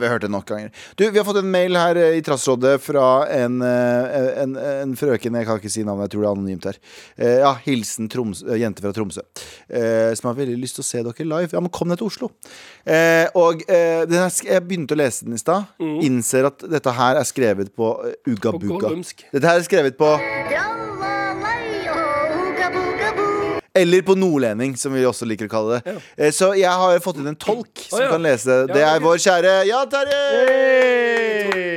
[SPEAKER 2] vi har hørt det nok ganger. Du, Vi har fått en mail her eh, i Trassrådet fra en, eh, en, en frøken Jeg kan ikke si navnet, jeg tror det er anonymt her. Eh, Ja, Hilsen Troms, eh, jente fra Tromsø. eh, Som har veldig lyst til å se dere live. Ja, men kom ned til Oslo. Eh, Og eh, den er, sk- jeg begynte å lese den i stad. Innser at dette her er skrevet på eh, Ugga
[SPEAKER 3] På
[SPEAKER 2] Bugga.
[SPEAKER 3] gormsk.
[SPEAKER 2] Dette her er skrevet på
[SPEAKER 1] Tralala-jo, uga-buga-bu.
[SPEAKER 2] Eller på nordlending, som vi også liker å kalle det. Eh, Så jeg har fått inn en tolk som
[SPEAKER 3] Å, ja.
[SPEAKER 2] kan lese det. Det
[SPEAKER 3] Ja,
[SPEAKER 2] er
[SPEAKER 3] ok.
[SPEAKER 2] vår kjære Ja, Terje!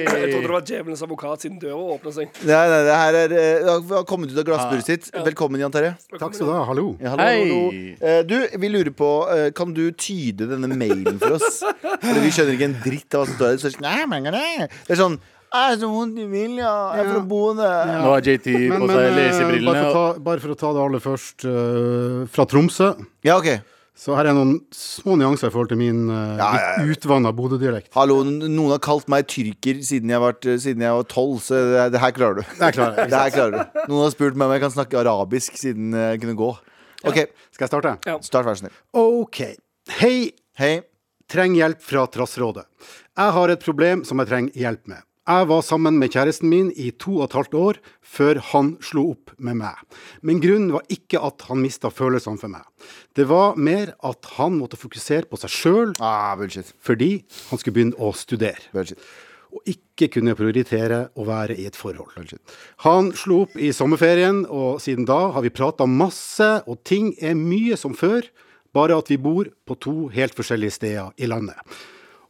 [SPEAKER 3] Jeg trodde det var djevelens advokat siden døra åpna seg.
[SPEAKER 2] Nei, nei, det her er eh, Det har kommet ut av
[SPEAKER 3] Ah,
[SPEAKER 2] glassburet sitt. Velkommen, Jan Terje.
[SPEAKER 8] Takk skal du ha. Hallo.
[SPEAKER 2] Ja, hallo,
[SPEAKER 4] Hei.
[SPEAKER 2] hallo. Eh, Du, vi lurer på eh, Kan du tyde denne mailen for oss? Fordi vi skjønner ikke en dritt av hva som står der. Så, er det sånn, nei, men det er- det er sånn Jeg er så vondt i vilja. Jeg er fra Bodø.
[SPEAKER 4] Nå har JT
[SPEAKER 8] Men,
[SPEAKER 4] på
[SPEAKER 8] men
[SPEAKER 4] seg
[SPEAKER 8] eh, bare, for å
[SPEAKER 4] lesebrillene.
[SPEAKER 8] ta, bare for å ta det aller først, eh, fra Tromsø,
[SPEAKER 2] Ja, OK.
[SPEAKER 8] så her er noen små nyanser i forhold til min
[SPEAKER 2] Ja,
[SPEAKER 8] uh,
[SPEAKER 2] ja, ja.
[SPEAKER 8] litt utvanna Bodø-dialekt.
[SPEAKER 2] Hallo, n- noen har kalt meg tyrker siden jeg, vært, siden jeg var tolv, så det, det her klarer du.
[SPEAKER 8] Det klarer jeg, ikke
[SPEAKER 2] Det her klarer du. Noen har spurt meg om jeg kan snakke arabisk siden jeg kunne gå. OK,
[SPEAKER 8] Skal jeg starte?
[SPEAKER 3] Ja.
[SPEAKER 2] start, vær så snill.
[SPEAKER 8] OK. Hei,
[SPEAKER 2] Hei.
[SPEAKER 8] trenger hjelp fra Trassrådet. Jeg har et problem som jeg trenger hjelp med. Jeg var sammen med kjæresten min i to og et halvt år før han slo opp med meg. Men grunnen var ikke at han mista følelsene for meg. Det var mer at han måtte fokusere på seg sjøl
[SPEAKER 2] Ah, bullshit.
[SPEAKER 8] fordi han skulle begynne å studere.
[SPEAKER 2] Bullshit.
[SPEAKER 8] og ikke kunne prioritere å være i et forhold. Han slo opp i sommerferien, og siden da har vi prata masse, og ting er mye som før, bare at vi bor på to helt forskjellige steder i landet.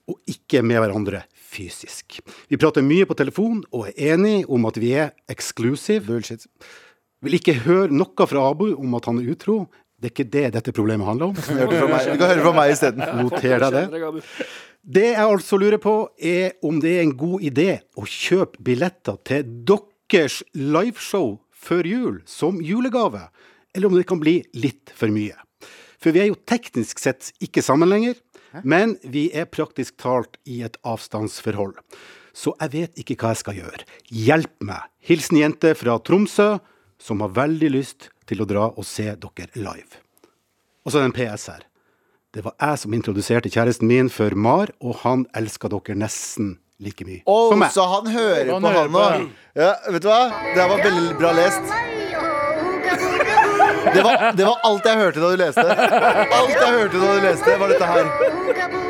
[SPEAKER 8] Og ikke med hverandre fysisk. Vi prater mye på telefon og er enige om at vi er exclusive. Bullshit. Vil ikke høre noe fra Abu om at han er utro. Det er ikke det dette problemet handler om.
[SPEAKER 2] Hørte fra meg. Du kan høre fra meg isteden.
[SPEAKER 8] Noter deg det.
[SPEAKER 3] Skjønner deg, Abu.
[SPEAKER 8] Det jeg altså lurer på, er om det er en god idé å kjøpe billetter til deres liveshow før jul som julegave, eller om det kan bli litt for mye. For vi er jo teknisk sett ikke sammen lenger, men vi er praktisk talt i et avstandsforhold. Så jeg vet ikke hva jeg skal gjøre. Hjelp meg! Hilsen jente fra Tromsø, som har veldig lyst til å dra og se dere live. Og så er det en PS her. Det var jeg som introduserte kjæresten min for Mar, og han elska dere nesten like mye
[SPEAKER 2] Å,
[SPEAKER 8] som meg.
[SPEAKER 2] så han hører
[SPEAKER 4] Han
[SPEAKER 2] på
[SPEAKER 4] hører
[SPEAKER 2] han nå. Ja, vet du hva? Det her var veldig bra lest.
[SPEAKER 1] Tralala-jo, uga-buga-bu.
[SPEAKER 2] Det var, det var alt jeg hørte da du leste. Alt jeg hørte da du leste, var dette her.
[SPEAKER 1] Uga-buga-bu.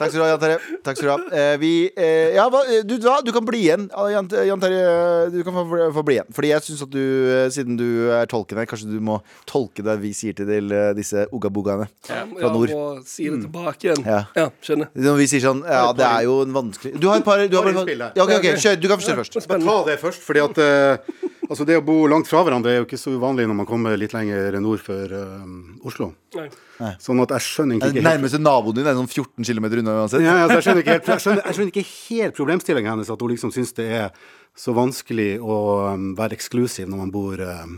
[SPEAKER 2] Takk skal du ha, Jan Terje. Takk skal du ha. Eh, vi eh, Ja, hva, eh, du, hva, du kan bli igjen. Ah, Jan, Jan Terje, eh, du kan få, få bli igjen. Fordi jeg syns at du, eh, siden du er tolken her, kanskje du må tolke det vi sier til til, eh, disse ogabogaene.
[SPEAKER 3] Ja,
[SPEAKER 2] nord.
[SPEAKER 3] og si det tilbake igjen.
[SPEAKER 2] Ja.
[SPEAKER 3] Ja, skjønner.
[SPEAKER 2] Når vi sier sånn Ja, det er jo en vanskelig Du har et par du har
[SPEAKER 8] Par
[SPEAKER 2] bare-
[SPEAKER 8] innspill her.
[SPEAKER 2] Ja, ok, ok, kjør. Du kan forstå først.
[SPEAKER 8] Jeg tar det først, fordi at eh, altså det å bo langt fra hverandre er jo ikke så uvanlig når man kommer litt lenger nord for eh, Oslo.
[SPEAKER 3] Nei.
[SPEAKER 8] Sånn at jeg skjønner egentlig
[SPEAKER 2] Den
[SPEAKER 8] ikke helt
[SPEAKER 2] nærmeste naboen din er sånn 14 km unna uansett.
[SPEAKER 8] ja, ja, altså jeg skjønner ikke helt, jeg skjønner, jeg skjønner ikke helt problemstillinga hennes, at hun liksom syns det er så vanskelig å eh, være eksklusiv når man bor eh,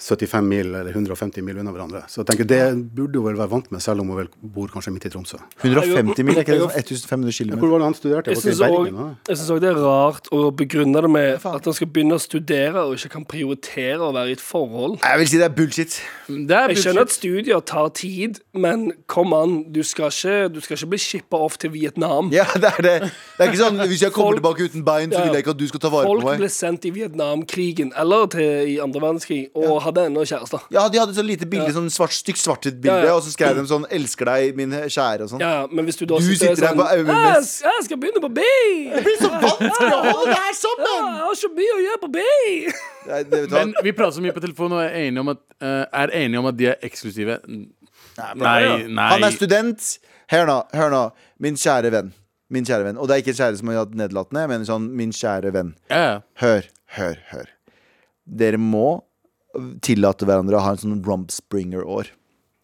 [SPEAKER 8] 75 mil eller 150 mil unna hverandre. Så jeg tenker det burde hun vel være vant med, selv om hun vel bor kanskje midt i Tromsø.
[SPEAKER 2] 150 mil, er ikke det sånn 1500 km?
[SPEAKER 8] Hvor var det han studerte?
[SPEAKER 3] Jeg
[SPEAKER 8] Var det i
[SPEAKER 3] syns
[SPEAKER 8] Bergen? da?
[SPEAKER 3] òg det er rart å begrunne det med at han skal begynne å studere og ikke kan prioritere å være i et forhold.
[SPEAKER 2] Jeg vil si det er bullshit.
[SPEAKER 4] Det er
[SPEAKER 3] Jeg skjønner at
[SPEAKER 4] bullshit.
[SPEAKER 3] studier tar tid, men kom an, du skal ikke, du skal ikke bli shippa off til Vietnam.
[SPEAKER 2] Ja, det er det. Det er ikke sånn hvis jeg kommer
[SPEAKER 3] Folk-
[SPEAKER 2] tilbake uten bein, så
[SPEAKER 3] Ja.
[SPEAKER 2] vil jeg ikke at du skal ta vare
[SPEAKER 3] Folk
[SPEAKER 2] på
[SPEAKER 3] ble
[SPEAKER 2] meg.
[SPEAKER 3] sendt i Vietnamkrigen eller til i andre verdenskrig og hadde ennå kjærester.
[SPEAKER 2] Ja, de hadde sånn lite bilde,
[SPEAKER 3] Ja.
[SPEAKER 2] sånn svart, stygt svart-hvitt-bilde,
[SPEAKER 3] Ja, ja.
[SPEAKER 2] og så skrev de sånn 'Elsker deg, min kjære', og sånn.
[SPEAKER 3] Ja, ja, men hvis du da
[SPEAKER 2] Du
[SPEAKER 3] sitter,
[SPEAKER 2] sitter der
[SPEAKER 3] sånn
[SPEAKER 2] på
[SPEAKER 3] jeg,
[SPEAKER 2] MMS.
[SPEAKER 3] jeg skal
[SPEAKER 2] [LAUGHS]
[SPEAKER 3] begynne på B!
[SPEAKER 2] Det blir så vanskelig å holde det her
[SPEAKER 3] Ja,
[SPEAKER 2] sammen!
[SPEAKER 3] jeg har så mye å gjøre på B!
[SPEAKER 2] Nei, det, vet du hva?
[SPEAKER 4] Men vi prater så mye på telefonen og er enige om at, eh, er enige om at de er eksklusive. Nei, nei.
[SPEAKER 2] Han er student. Hør nå, hør nå. Min kjære venn. Min kjære venn. Og det er ikke kjære som har hatt nedlatende. Jeg mener sånn, min kjære venn.
[SPEAKER 4] Ja.
[SPEAKER 2] Hør, hør, hør. Dere må tillate hverandre å ha en sånn rumpspringer-år.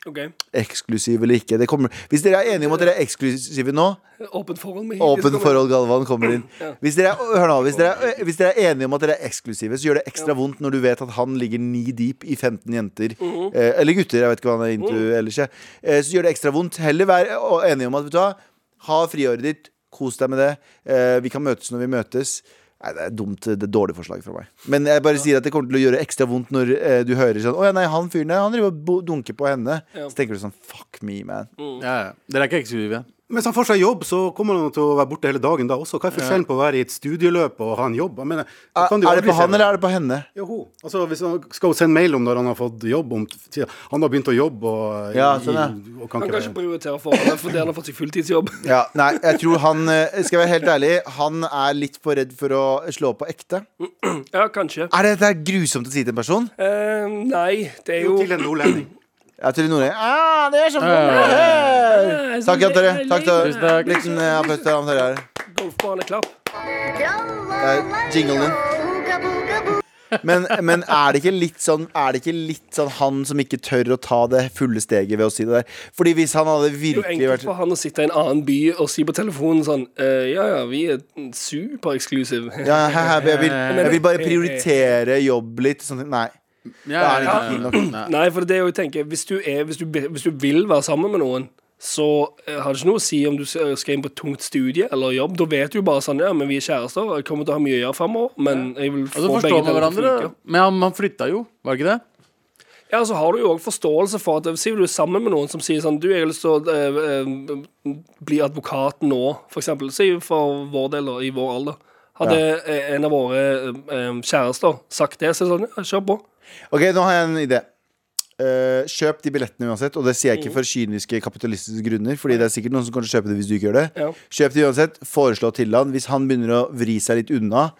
[SPEAKER 3] Ok,
[SPEAKER 2] Eksklusiv eller ikke. Det kommer. Hvis dere er enige om at dere er eksklusive nå,
[SPEAKER 3] Åpent forhold med
[SPEAKER 2] åpen forhold, Galvan kommer inn. Hvis dere, er, hør nå, hvis dere, er, hvis dere er enige om at dere er eksklusive, så gjør det ekstra vondt når du vet at han ligger ni deep i 15 jenter.
[SPEAKER 8] Mhm.
[SPEAKER 2] eh, eller gutter, jeg vet ikke hva han er into ellers. jeg. Eh, så gjør det ekstra vondt. Heller vær og- enige om at vet du hva, ha friåret ditt, kos deg med det. Eh, vi kan møtes når vi møtes. Nei, Det er dumt, det er dårlig forslag fra meg. Men jeg bare sier at det kommer til å gjøre ekstra vondt når eh, du hører sånn Å ja, nei, han fyren der, han driver og bo- dunker på henne. Så tenker du sånn Fuck me, man.
[SPEAKER 4] Ja, ja. Dere er ikke eksklusive.
[SPEAKER 8] Hvis han får seg jobb, så kommer han til å være borte hele dagen da også. Hva er forskjellen på å være i et studieløp og ha en jobb? Jeg mener, da
[SPEAKER 2] Er,
[SPEAKER 8] kan du jo
[SPEAKER 2] er det på
[SPEAKER 8] aldri se
[SPEAKER 2] han eller er det på henne?
[SPEAKER 8] Jo, hun. altså, hvis han skal hun sende mail om når han har fått jobb om sier Han har begynt å jobbe og,
[SPEAKER 2] Ja, sånn, ja.
[SPEAKER 8] i- og kan
[SPEAKER 3] Han
[SPEAKER 8] ikke
[SPEAKER 3] kan ikke prioritere forholdet fordi han har fått seg fulltidsjobb. [LAUGHS]
[SPEAKER 2] Ja, nei, jeg tror han eh, Skal jeg være helt ærlig, han er litt for redd for å slå på ekte.
[SPEAKER 3] Ja, kanskje.
[SPEAKER 2] Er dette her grusomt å si til en person?
[SPEAKER 3] Eh, nei, det er
[SPEAKER 8] Jo,
[SPEAKER 3] jo
[SPEAKER 8] til en nordlending.
[SPEAKER 2] Jeg tror noen ah, det er så bra.
[SPEAKER 3] Nei, så
[SPEAKER 2] Takk, Jan Tore.
[SPEAKER 3] det er
[SPEAKER 2] Takk, Tore.
[SPEAKER 4] Tusen takk.
[SPEAKER 2] Liten eh, applaus til Jan Tore her.
[SPEAKER 3] Golfbaneklapp.
[SPEAKER 2] Eh, jinglen din. Men, men er, det ikke litt sånn, er det ikke litt sånn han som ikke tør å ta det fulle steget ved å si det der? Fordi hvis han hadde
[SPEAKER 3] Det er jo
[SPEAKER 2] virkelig
[SPEAKER 3] enkelt
[SPEAKER 2] vært
[SPEAKER 3] for han å sitte i en annen by og si på telefonen sånn eh, Ja, ja, vi er supereksklusive.
[SPEAKER 2] ja, hei, hei, jeg, vil, jeg vil bare prioritere jobb litt. Sånn, nei.
[SPEAKER 4] Ja,
[SPEAKER 2] Da er det
[SPEAKER 4] ja,
[SPEAKER 2] ikke
[SPEAKER 4] ja.
[SPEAKER 2] keen nok.
[SPEAKER 4] Nei.
[SPEAKER 3] Nei, for det er jo jeg tenker hvis du, er, hvis, du, be- hvis du vil være sammen med noen, så eh, har det ikke noe å si om du s- eh, skal inn på et tungt studie eller jobb. Da vet du jo bare sånn Ja, men vi er kjærester, og jeg kommer til å ha mye å gjøre fremover, men jeg vil
[SPEAKER 4] Og
[SPEAKER 3] få
[SPEAKER 4] så
[SPEAKER 3] begge
[SPEAKER 4] forstår
[SPEAKER 3] deler
[SPEAKER 4] man
[SPEAKER 3] til å
[SPEAKER 4] hverandre.
[SPEAKER 3] funke.
[SPEAKER 4] Men han, han flytta jo, var det ikke det?
[SPEAKER 3] Ja, så har du jo òg forståelse for at eh, Si du er sammen med noen som sier sånn Du, jeg har lyst til å eh, eh, bli advokat nå, for eksempel. Si for vår del, da, i vår alder. Hadde eh, en av våre eh, kjærester sagt det, så er det sånn Ja, kjør på.
[SPEAKER 2] Ok, nå har jeg en idé. Eh, kjøp de billettene uansett, og det sier
[SPEAKER 3] Mm.
[SPEAKER 2] jeg ikke for kyniske kapitalistiske grunner. Fordi det er sikkert noen som kommer til å kjøpe det hvis du ikke gjør det.
[SPEAKER 3] Ja.
[SPEAKER 2] Kjøp de uansett, foreslå til han hvis han begynner å vri seg litt unna.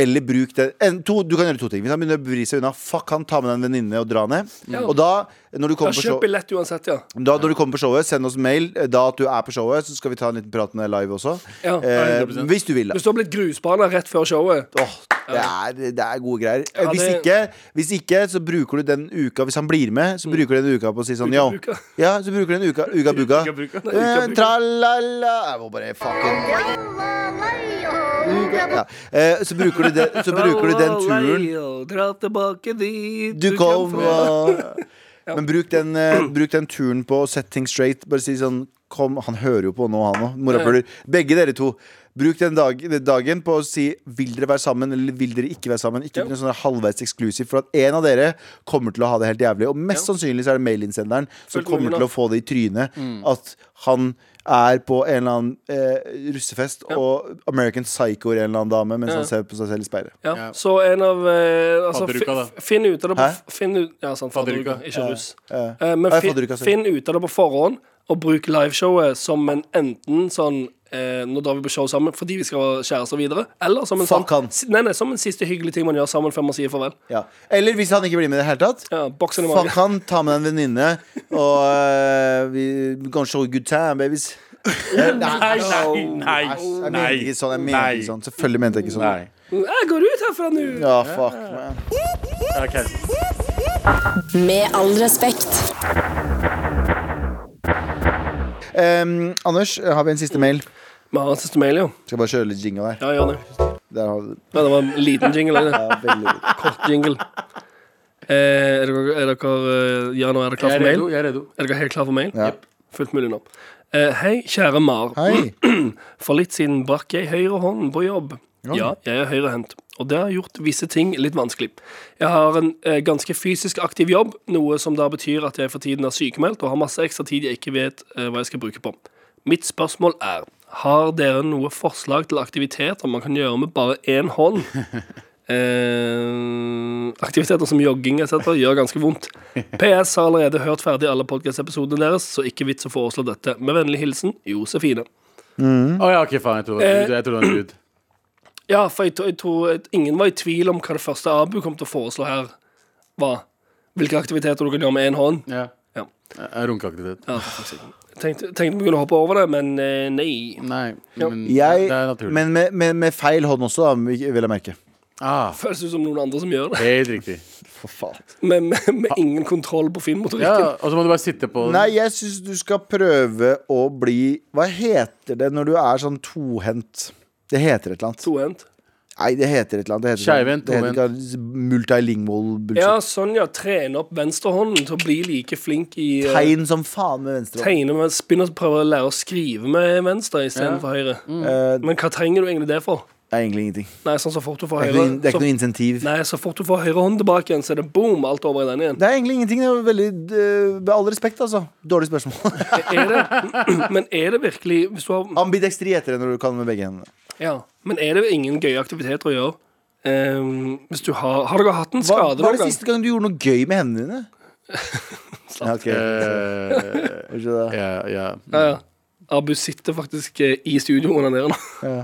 [SPEAKER 2] Eller bruk den en, to, Du kan gjøre to ting. Hvis han begynner å vri seg unna, fuck han, ta med deg en venninne og dra ned. Og da, når du
[SPEAKER 3] Ja,
[SPEAKER 2] kommer på
[SPEAKER 3] kjøp
[SPEAKER 2] show
[SPEAKER 3] billett uansett, ja.
[SPEAKER 2] da når du kommer på showet, send oss mail eh, da at du er på showet, så skal vi ta en liten prat med deg live også.
[SPEAKER 3] Ja,
[SPEAKER 2] Eh,
[SPEAKER 4] 100%.
[SPEAKER 2] hvis du vil, da.
[SPEAKER 3] Hvis du har blitt grusbane rett før showet
[SPEAKER 2] Åh, det, er, det er gode greier.
[SPEAKER 3] Ja,
[SPEAKER 2] hvis,
[SPEAKER 3] det-
[SPEAKER 2] ikke, hvis ikke, så bruker du den uka Hvis han blir med, så bruker du den uka på å si sånn yo.
[SPEAKER 3] Mm. Uka-buka.
[SPEAKER 2] Ja, så bruker du den uka, uka buka.
[SPEAKER 4] Uka buka.
[SPEAKER 2] Eh,
[SPEAKER 3] [LAUGHS] Uka-buka.
[SPEAKER 2] Tralala Jeg må bare fucking
[SPEAKER 1] Tralala,
[SPEAKER 2] ja. eh, så, bruker du den- så bruker du den turen
[SPEAKER 3] Dra tilbake dit
[SPEAKER 2] du kom
[SPEAKER 3] fra. [LAUGHS]
[SPEAKER 2] og Men bruk den, eh, bruk den turen på å set things straight. Bare si sånn Kom, han hører jo på nå, han òg. Morapuler. Begge dere to. Bruk den dag, den dagen på å si vil dere være sammen eller vil dere ikke være sammen. Ikke
[SPEAKER 3] Ja.
[SPEAKER 2] bli sånn halvveis eksklusiv, for at en av dere kommer til å ha det helt jævlig. Og mest sannsynlig så er det mailinnsenderen som
[SPEAKER 3] Følg med
[SPEAKER 2] kommer
[SPEAKER 3] nå.
[SPEAKER 2] til å få det i trynet
[SPEAKER 3] Mm.
[SPEAKER 2] at han er på en eller annen eh, russefest og American Psycho en eller annen dame mens
[SPEAKER 3] Ja.
[SPEAKER 2] han ser på seg selv i speilet.
[SPEAKER 3] Ja. Så en av eh, altså,
[SPEAKER 4] Fadderuka, da.
[SPEAKER 3] fi- Finn ut av det på
[SPEAKER 2] Hæ?
[SPEAKER 3] Finn ut, Ja, sånn fadderuka,
[SPEAKER 4] Fadderuka.
[SPEAKER 3] ikke russ.
[SPEAKER 2] ja.
[SPEAKER 3] Eh, men
[SPEAKER 2] Nei,
[SPEAKER 3] fin,
[SPEAKER 2] fadderuka, sorry.
[SPEAKER 3] finn ut av det på forhånd, og bruk liveshowet som en enten sånn eh, Nå drar vi på show sammen fordi vi skal være kjærester videre, eller som en,
[SPEAKER 2] Fuck
[SPEAKER 3] sånn,
[SPEAKER 2] han.
[SPEAKER 3] si- nei, nei, som en siste hyggelige ting man gjør sammen før man sier farvel.
[SPEAKER 2] Ja. Eller hvis han ikke blir med i det hele tatt.
[SPEAKER 3] Ja, Boksen i
[SPEAKER 2] Fuck
[SPEAKER 3] magen.
[SPEAKER 2] han, ta med en venninne Og øh, vi we're gonna show a good time, babies Eh, Nei,
[SPEAKER 4] Nei, nei,
[SPEAKER 2] æsj, jeg
[SPEAKER 4] nei.
[SPEAKER 2] mente ikke sånn, jeg mente ikke sånn Selvfølgelig mente jeg ikke sånn
[SPEAKER 4] Nei.
[SPEAKER 3] Jeg går ut herfra nå!
[SPEAKER 2] Ja, fuck man.
[SPEAKER 4] Ok.
[SPEAKER 7] Med all respekt.
[SPEAKER 2] Em, Anders, har vi en siste mail?
[SPEAKER 3] Vi har en siste mail, jo.
[SPEAKER 2] Skal bare kjøre litt jingle der
[SPEAKER 3] Ja, gjør det.
[SPEAKER 2] Der har vi
[SPEAKER 3] Ja, det var en liten jingle. eller?
[SPEAKER 2] ja, veldig
[SPEAKER 3] Kort jingle. Eh, er dere, er dere eh, Jan og er dere klar for
[SPEAKER 4] Jeg er
[SPEAKER 3] mail?
[SPEAKER 4] redo. Jeg er redo.
[SPEAKER 3] Er dere helt klar for mail?
[SPEAKER 2] Ja.
[SPEAKER 3] Fullt mulig nå. Eh, hei, kjære Mar.
[SPEAKER 2] Hei,
[SPEAKER 3] For litt siden brakk jeg høyre hånd på jobb. Ja, jeg er høyrehendt, og det har gjort visse ting litt vanskelig. Jeg har en eh, ganske fysisk aktiv jobb, noe som da betyr at jeg for tiden er sykemeldt og har masse ekstra tid jeg ikke vet eh, hva jeg skal bruke på. Mitt spørsmål er, har dere noe forslag til aktiviteter man kan gjøre med bare én hånd? Eh, aktiviteter som jogging etc. gjør ganske vondt. PS har allerede hørt ferdig alle podkast-episodene deres, så ikke vits å foreslå dette. Med vennlig hilsen Josefine.
[SPEAKER 4] Å
[SPEAKER 2] sånn.
[SPEAKER 4] ja, ok, faen. Jeg tror
[SPEAKER 3] Eh.
[SPEAKER 4] det var en dude. Jeg tror det var en dude.
[SPEAKER 3] Ja, for jeg, tror- jeg tror at ingen var i tvil om hva det første Abu kom til å foreslå her, var. Hvilke aktiviteter du kan gjøre med én hånd.
[SPEAKER 4] Ja.
[SPEAKER 3] Ja.
[SPEAKER 4] Eh, Runkeaktivitet.
[SPEAKER 3] Ja, for faen. tenkte, tenkte vi kunne hoppe over det, men eh, nei.
[SPEAKER 4] Nei, men
[SPEAKER 2] Jeg,
[SPEAKER 4] det er naturlig.
[SPEAKER 2] men med, med, med feil hånd også, da, vil jeg merke.
[SPEAKER 4] ah,
[SPEAKER 3] Føles ut som noen andre som gjør det. [LAUGHS]
[SPEAKER 4] helt riktig.
[SPEAKER 2] For faen.
[SPEAKER 3] Med, med, med ingen kontroll på finmotorikken.
[SPEAKER 4] Ja, og så må du bare sitte på den.
[SPEAKER 2] Nei, jeg syns du skal prøve å bli Hva heter det når du er sånn tohendt? Det heter et eller annet.
[SPEAKER 3] Tohendt.
[SPEAKER 2] Nei, det heter et eller annet. Det heter, sånn-
[SPEAKER 4] Skeivhendt,
[SPEAKER 2] det heter sånn ikke multilingual bullshit.
[SPEAKER 3] Ja, sånn, ja. Trene opp venstrehånden til å bli like flink i eh,
[SPEAKER 2] Tegn som faen med venstre hånd.
[SPEAKER 3] Tegne med spinn og prøve å lære å skrive med venstre istedenfor høyre.
[SPEAKER 2] Eh,
[SPEAKER 3] Men hva trenger du egentlig det for?
[SPEAKER 2] det er egentlig ingenting.
[SPEAKER 3] Nei, sånn så fort du
[SPEAKER 2] Det
[SPEAKER 3] får
[SPEAKER 2] er
[SPEAKER 3] høyre
[SPEAKER 2] ikke noe, det er ikke noe
[SPEAKER 3] så,
[SPEAKER 2] insentiv.
[SPEAKER 3] Nei, så fort du får høyre hånd tilbake igjen, så er det boom, alt over i den igjen.
[SPEAKER 2] Det er egentlig ingenting. Det er veldig, eh, med all respekt, altså. Dårlig spørsmål. [LAUGHS]
[SPEAKER 3] Er det, men er det virkelig hvis du har,
[SPEAKER 2] Ambidextri heter det når du kan med begge hendene.
[SPEAKER 3] ja, Men er det ingen gøye aktiviteter å gjøre? Ehm, hvis du har Har dere hatt en
[SPEAKER 2] Hva
[SPEAKER 3] skade
[SPEAKER 2] var
[SPEAKER 3] noen
[SPEAKER 2] det
[SPEAKER 3] gang?
[SPEAKER 2] siste gang du gjorde noe gøy med hendene dine? Ja, ok.
[SPEAKER 4] Eh,
[SPEAKER 2] Var ikke det?
[SPEAKER 4] ja, ja.
[SPEAKER 3] Ja, ja. Abu sitter faktisk eh, i studio under der nå.
[SPEAKER 2] Ja.